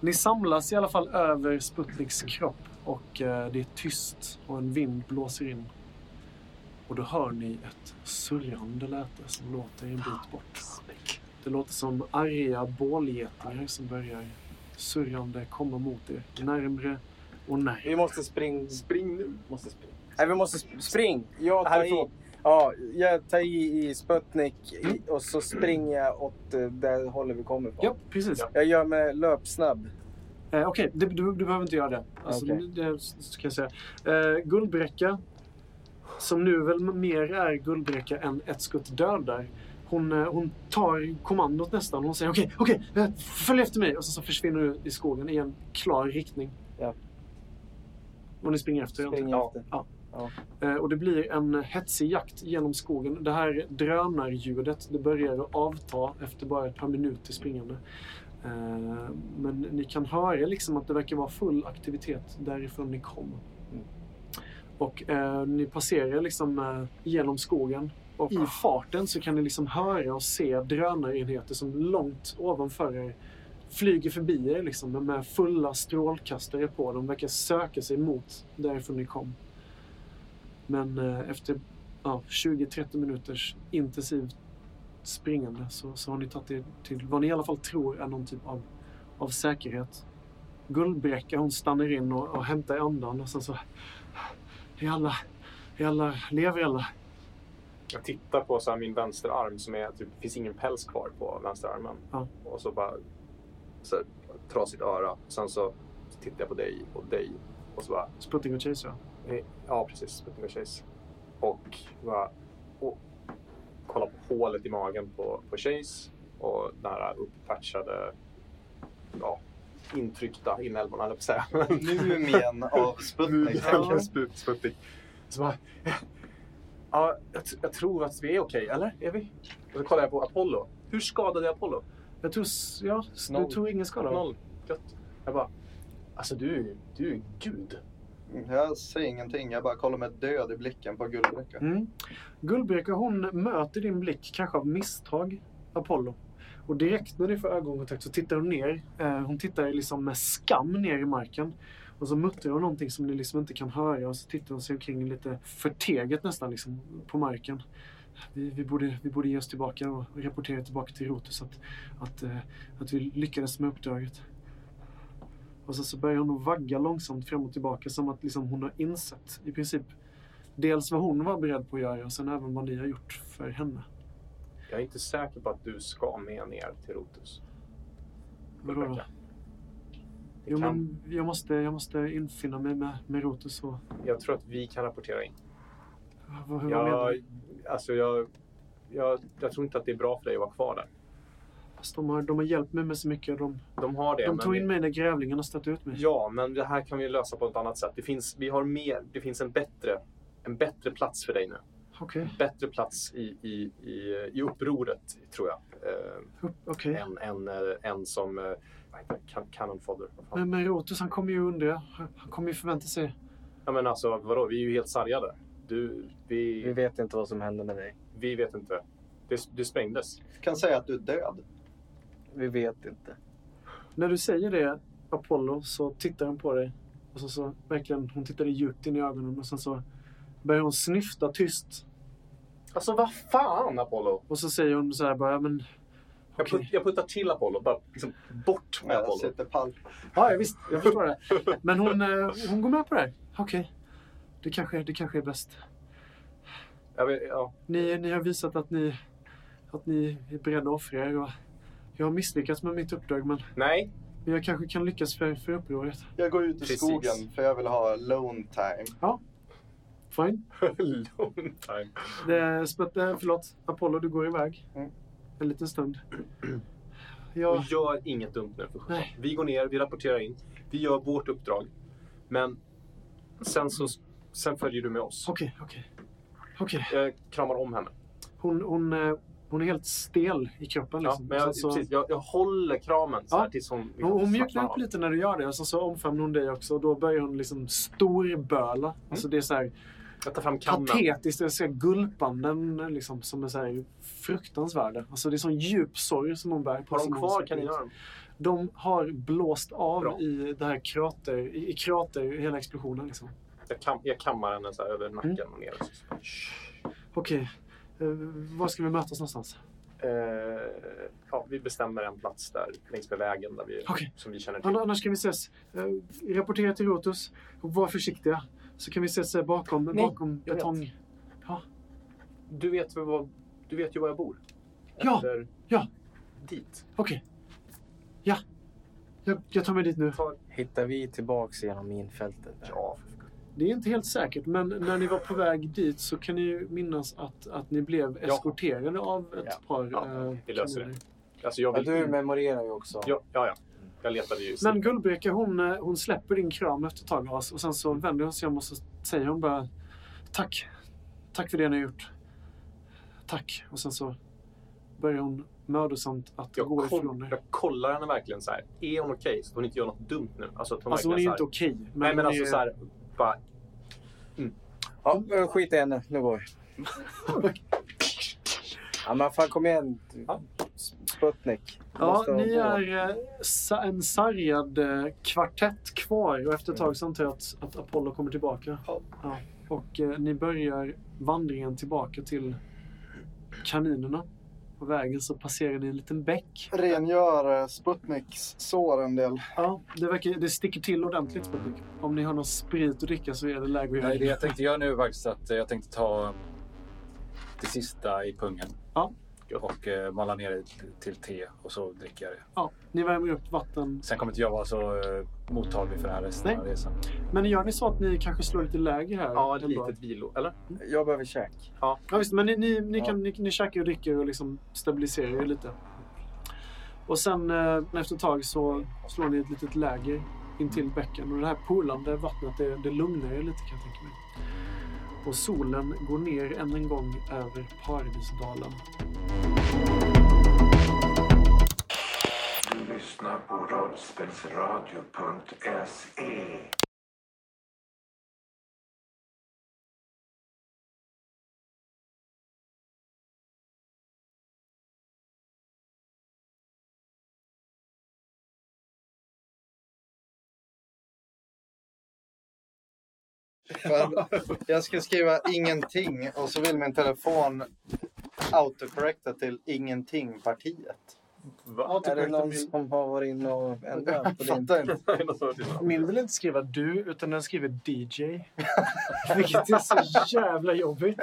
Speaker 3: Ni samlas i alla fall över Sputniks kropp. Och eh, det är tyst och en vind blåser in. Och då hör ni ett surrande läte som låter en bit bort. Det låter som arga bålgetingar som börjar surrande komma mot er. Närmre och närmre.
Speaker 6: Vi måste springa.
Speaker 5: Spring nu!
Speaker 6: Måste springa. Nej, vi måste sp- spring. Jag tar i.
Speaker 5: Härifrån.
Speaker 6: Ja, jag tar i i Sputnik i- och så springer jag åt eh, det hållet vi kommer från.
Speaker 3: Ja, precis.
Speaker 6: Jag gör mig löpsnabb.
Speaker 3: Eh, Okej, du, du, du behöver inte göra det. Alltså,
Speaker 6: Okej.
Speaker 3: det s- kan jag säga. Eh, guldbräcka, som nu väl mer är guldbräcka än ett skutt död där. Hon, eh, hon tar kommandot nästan. Hon säger okej, okej, eh, följ efter mig. Och så, så försvinner du i skogen i en klar riktning.
Speaker 6: Ja.
Speaker 3: Och ni springer efter.
Speaker 6: Springer
Speaker 3: antar jag.
Speaker 6: efter.
Speaker 3: Ja.
Speaker 6: Ja.
Speaker 3: Eh, Och det blir en hetsig jakt genom skogen. Det här drönarljudet det börjar att avta efter bara ett par minuter springande. Eh, Men ni kan höra liksom att det verkar vara full aktivitet därifrån ni kom. Och eh, ni passerar liksom eh, genom skogen och i farten så kan ni liksom höra och se drönarenheter som långt ovanför er flyger förbi er liksom men med fulla strålkastare på. De verkar söka sig mot därifrån ni kom. Men eh, efter ja, 20-30 minuters intensivt springande så, så har ni tagit er till vad ni i alla fall tror är någon typ av, av säkerhet. Guldbräcka, hon stannar in och, och hämtar andan och sen så... Är alla, är alla, lever alla?
Speaker 5: Jag tittar på så här min vänsterarm som är typ, det finns ingen päls kvar på vänsterarmen.
Speaker 3: Ja.
Speaker 5: Och så bara så här, trasigt öra. Sen så tittar jag på dig och dig. Och så bara,
Speaker 3: Sputnik och Chase, ja.
Speaker 5: eh, ja precis, Sputnik och Chase. Och bara, och, kolla på hålet i magen på, på Chase. Och den här upppatchade, ja, intryckta inälvorna höll jag på att säga.
Speaker 2: Mumien av Sputnik.
Speaker 5: Mumien, Sput- Sputnik. Så bara, ja, jag, tr- jag tror att vi är okej, eller? Är vi? Och så kollar jag på Apollo. Hur skadad är Apollo?
Speaker 3: Jag tror, s- ja, s- du
Speaker 5: Noll.
Speaker 3: tog ingen skada?
Speaker 5: Noll. Gött. Jag bara, alltså du, är- du är gud.
Speaker 2: Jag ser ingenting. Jag bara kollar med död i blicken på guldbrickan.
Speaker 3: Mm. Guldbräcka, hon möter din blick, kanske av misstag, Apollo. Och direkt när ni får ögonkontakt så tittar hon ner. Eh, hon tittar liksom med skam ner i marken. Och så muttrar hon någonting som ni liksom inte kan höra och så tittar hon sig omkring lite förteget nästan liksom, på marken. Vi, vi, borde, vi borde ge oss tillbaka och rapportera tillbaka till Rotus att, att, eh, att vi lyckades med uppdraget. Och så, så börjar hon att vagga långsamt fram och tillbaka som att liksom hon har insett i princip dels vad hon var beredd på att göra och sen även vad ni har gjort för henne.
Speaker 5: Jag är inte säker på att du ska med ner till Rotus.
Speaker 3: Vadå då?
Speaker 5: Rebecca. Det
Speaker 3: Jo,
Speaker 5: kan-
Speaker 3: men jag måste, jag måste infinna mig med, med Rotus och...
Speaker 5: Jag tror att vi kan rapportera in.
Speaker 3: Vad, hur, vad menar du?
Speaker 5: Jag, alltså jag, jag, jag tror inte att det är bra för dig att vara kvar där.
Speaker 3: Fast de har, de har hjälpt mig med så mycket. De,
Speaker 5: De har det.
Speaker 3: de
Speaker 5: men
Speaker 3: tog
Speaker 5: vi-
Speaker 3: in mig när grävlingarna stötte ut mig.
Speaker 5: Ja, men det här kan vi lösa på ett annat sätt. Det finns, vi har mer, det finns en, bättre, en bättre plats för dig nu.
Speaker 3: Okej.
Speaker 5: En bättre plats i, i, i, i upproret, tror jag. Eh,
Speaker 3: upp- Okej.
Speaker 5: än, än, eh, än som eh, vad heter det? Can- Cannon fodder. Vad fan?
Speaker 3: Men, men Rotus, han kommer ju undra. Han han kommer ju förvänta sig.
Speaker 5: Ja, men alltså, vadå? Vi är ju helt sargade. Du,
Speaker 6: Vi
Speaker 5: vi,
Speaker 6: vet inte vad som hände med dig.
Speaker 5: vi vet inte. Det, det sprängdes.
Speaker 2: kan säga att du är död.
Speaker 6: Vi vet inte.
Speaker 3: När du säger det, Apollo, så tittar han på dig. Och så, så verkligen, hon tittar dig djupt in i ögonen och sen så börjar hon snyfta tyst.
Speaker 5: Alltså, vad fan, Apollo?
Speaker 3: Och så säger hon så här bara, "Ja, men
Speaker 5: Jag,
Speaker 3: Okej.
Speaker 5: put, jag puttar till Apollo. Bara liksom, bort med
Speaker 2: Jag
Speaker 5: Apollo.
Speaker 2: sitter pall.
Speaker 3: Ja, ja, visst. Jag förstår det. Men hon, eh, hon går med på det här. Okej. Det, kanske, det kanske är bäst.
Speaker 5: Jag vet, ja.
Speaker 3: Ni, ni har visat att ni, att ni är beredda att offra er. Och jag har misslyckats med mitt uppdrag, men
Speaker 5: Nej,
Speaker 3: men jag kanske kan lyckas för, för upproret.
Speaker 2: Jag går ut i
Speaker 5: Precis.
Speaker 2: skogen för jag vill ha alone time.
Speaker 3: Fine.
Speaker 5: long time.
Speaker 3: Det, är spett- eh, förlåt, Apollo, du går iväg.
Speaker 2: Mm.
Speaker 3: En liten stund.
Speaker 5: Och
Speaker 3: Jag,
Speaker 5: gör inget dumt nu för sjutton.
Speaker 3: Nej.
Speaker 5: Vi går ner, vi rapporterar in. Vi gör vårt uppdrag. Men sen, så, sen följer du med oss.
Speaker 3: okej, okej. Okej.
Speaker 5: Jag kramar om henne.
Speaker 3: Hon, hon, eh, hon är helt stel i kroppen.
Speaker 5: Ja,
Speaker 3: Liksom.
Speaker 5: men jag,
Speaker 3: Så- så-
Speaker 5: precis, jag, jag håller kramen så här
Speaker 3: Ja.
Speaker 5: tills hon... liksom
Speaker 3: Hon, hon mjuknar
Speaker 5: slappnar
Speaker 3: upp
Speaker 5: av.
Speaker 3: lite när du gör det och så, så omfamnar hon dig också och då börjar hon liksom storböla.
Speaker 5: Mm.
Speaker 3: Alltså det är så här
Speaker 5: Jag tar fram kammen.
Speaker 3: patetiskt, jag ser gulpanden liksom som är så här fruktansvärda. Alltså det är sån djup sorg som hon bär på.
Speaker 5: Har de
Speaker 3: som hon
Speaker 5: kvar
Speaker 3: släpper ut.
Speaker 5: kaninöron?
Speaker 3: De har blåst av
Speaker 5: Bra.
Speaker 3: i det här krater, i, i krater, i hela explosionen liksom.
Speaker 5: Jag, kam, jag kammar henne så här
Speaker 3: Mm.
Speaker 5: över nacken och ner.
Speaker 3: Okej, eh, var ska vi mötas någonstans?
Speaker 5: Eh, ja, vi bestämmer en plats där längs med vägen där vi,
Speaker 3: Okej.
Speaker 5: som vi känner till.
Speaker 3: Ann- Annars kan vi ses. Eh, rapportera till Rotus och var försiktiga. Så kan vi ses eh, bakom, bakom
Speaker 5: jag vet.
Speaker 3: betong.
Speaker 5: Du vet, väl var, du vet ju var jag bor?
Speaker 3: Ja,
Speaker 5: Efter
Speaker 3: ja.
Speaker 5: Dit.
Speaker 3: Okej. Ja. Jag, jag tar mig dit nu.
Speaker 5: Tar,
Speaker 6: Hittar vi tillbaks genom minfältet?
Speaker 5: ja, för
Speaker 3: Det är inte helt säkert, men när ni var på väg dit så kan ni ju minnas att, att ni blev
Speaker 5: Ja.
Speaker 3: eskorterade av ett
Speaker 6: Ja.
Speaker 3: par
Speaker 5: Ja,
Speaker 3: eh,
Speaker 5: vi löser det.
Speaker 3: kanoner.
Speaker 5: Alltså jag
Speaker 6: Ja,
Speaker 5: vill...
Speaker 6: du memorerar ju också.
Speaker 5: ja, ja, ja. Jag letade ju.
Speaker 3: Men Guldbreka hon, eh, hon släpper din kram efter ett tag Lars, och sen så vänder hon sig om och så säger hon bara tack. Tack för det ni har gjort. Tack. Och sen så börjar hon mödosamt att
Speaker 5: jag,
Speaker 3: gå
Speaker 5: koll,
Speaker 3: ifrån er.
Speaker 5: jag kollar henne verkligen så här. Är hon okej? Så att hon inte gör något dumt nu. Alltså, att hon
Speaker 3: Alltså hon är ju
Speaker 5: verkligen
Speaker 3: inte
Speaker 5: så här,
Speaker 3: okej.
Speaker 5: Nej, men
Speaker 3: hon
Speaker 5: alltså
Speaker 3: är-
Speaker 5: så här. Bara,
Speaker 6: Ja, men skit i henne. Nu går vi. Ja, men fan kom igen.
Speaker 5: Ja.
Speaker 6: Sputnik. Du
Speaker 3: Ja,
Speaker 6: måste ha
Speaker 3: ni
Speaker 6: på.
Speaker 3: är eh, sa- en sargad eh, kvartett kvar och efter ett tag så antar jag att, att Apollo kommer tillbaka.
Speaker 2: Ja.
Speaker 3: Och eh, ni börjar vandringen tillbaka till kaninerna. På vägen så passerar ni en liten bäck.
Speaker 2: Rengör eh, Sputniks sår en del.
Speaker 3: Ja, det, verkar, det sticker till ordentligt. Sputnik. Om ni har någon sprit att dricka så är det läge att göra
Speaker 4: Nej, det
Speaker 3: det.
Speaker 4: jag tänkte göra nu är faktiskt att eh, jag tänkte ta det sista i pungen.
Speaker 3: Ja.
Speaker 4: Och eh, mala ner det till- till te och så dricker jag det.
Speaker 3: Ja, ni värmer upp vatten.
Speaker 4: Sen kommer inte jag vara så eh, mottaglig för det här resten
Speaker 3: Nej.
Speaker 4: av resan.
Speaker 3: Men gör ni så att ni kanske slår lite läger här?
Speaker 5: ja, ett
Speaker 3: ändå?
Speaker 5: litet vilo. Eller?
Speaker 6: Jag behöver käk.
Speaker 3: Ja visst, men ni, ni, ni,
Speaker 6: Ja.
Speaker 3: kan, ni, ni käkar och dricker och liksom stabiliserar er lite. Och sen eh, efter ett tag så slår ni ett litet läger in till bäcken. Och det här polande vattnet, det, det lugnar er lite kan jag tänka mig. Och solen går ner än en gång över Paradisdalen.
Speaker 1: Du lyssnar på rollspelsradio.se
Speaker 2: För jag ska skriva ingenting och så vill min telefon autocorrecta till ingenting-partiet.
Speaker 5: Va?
Speaker 6: Är det någon som har varit inne och ändrat på
Speaker 2: Jag
Speaker 6: din?
Speaker 2: fattar inte.
Speaker 5: Nej, något sånt.
Speaker 3: Min vill inte skriva du, utan den skriver DJ. Vilket är så jävla jobbigt.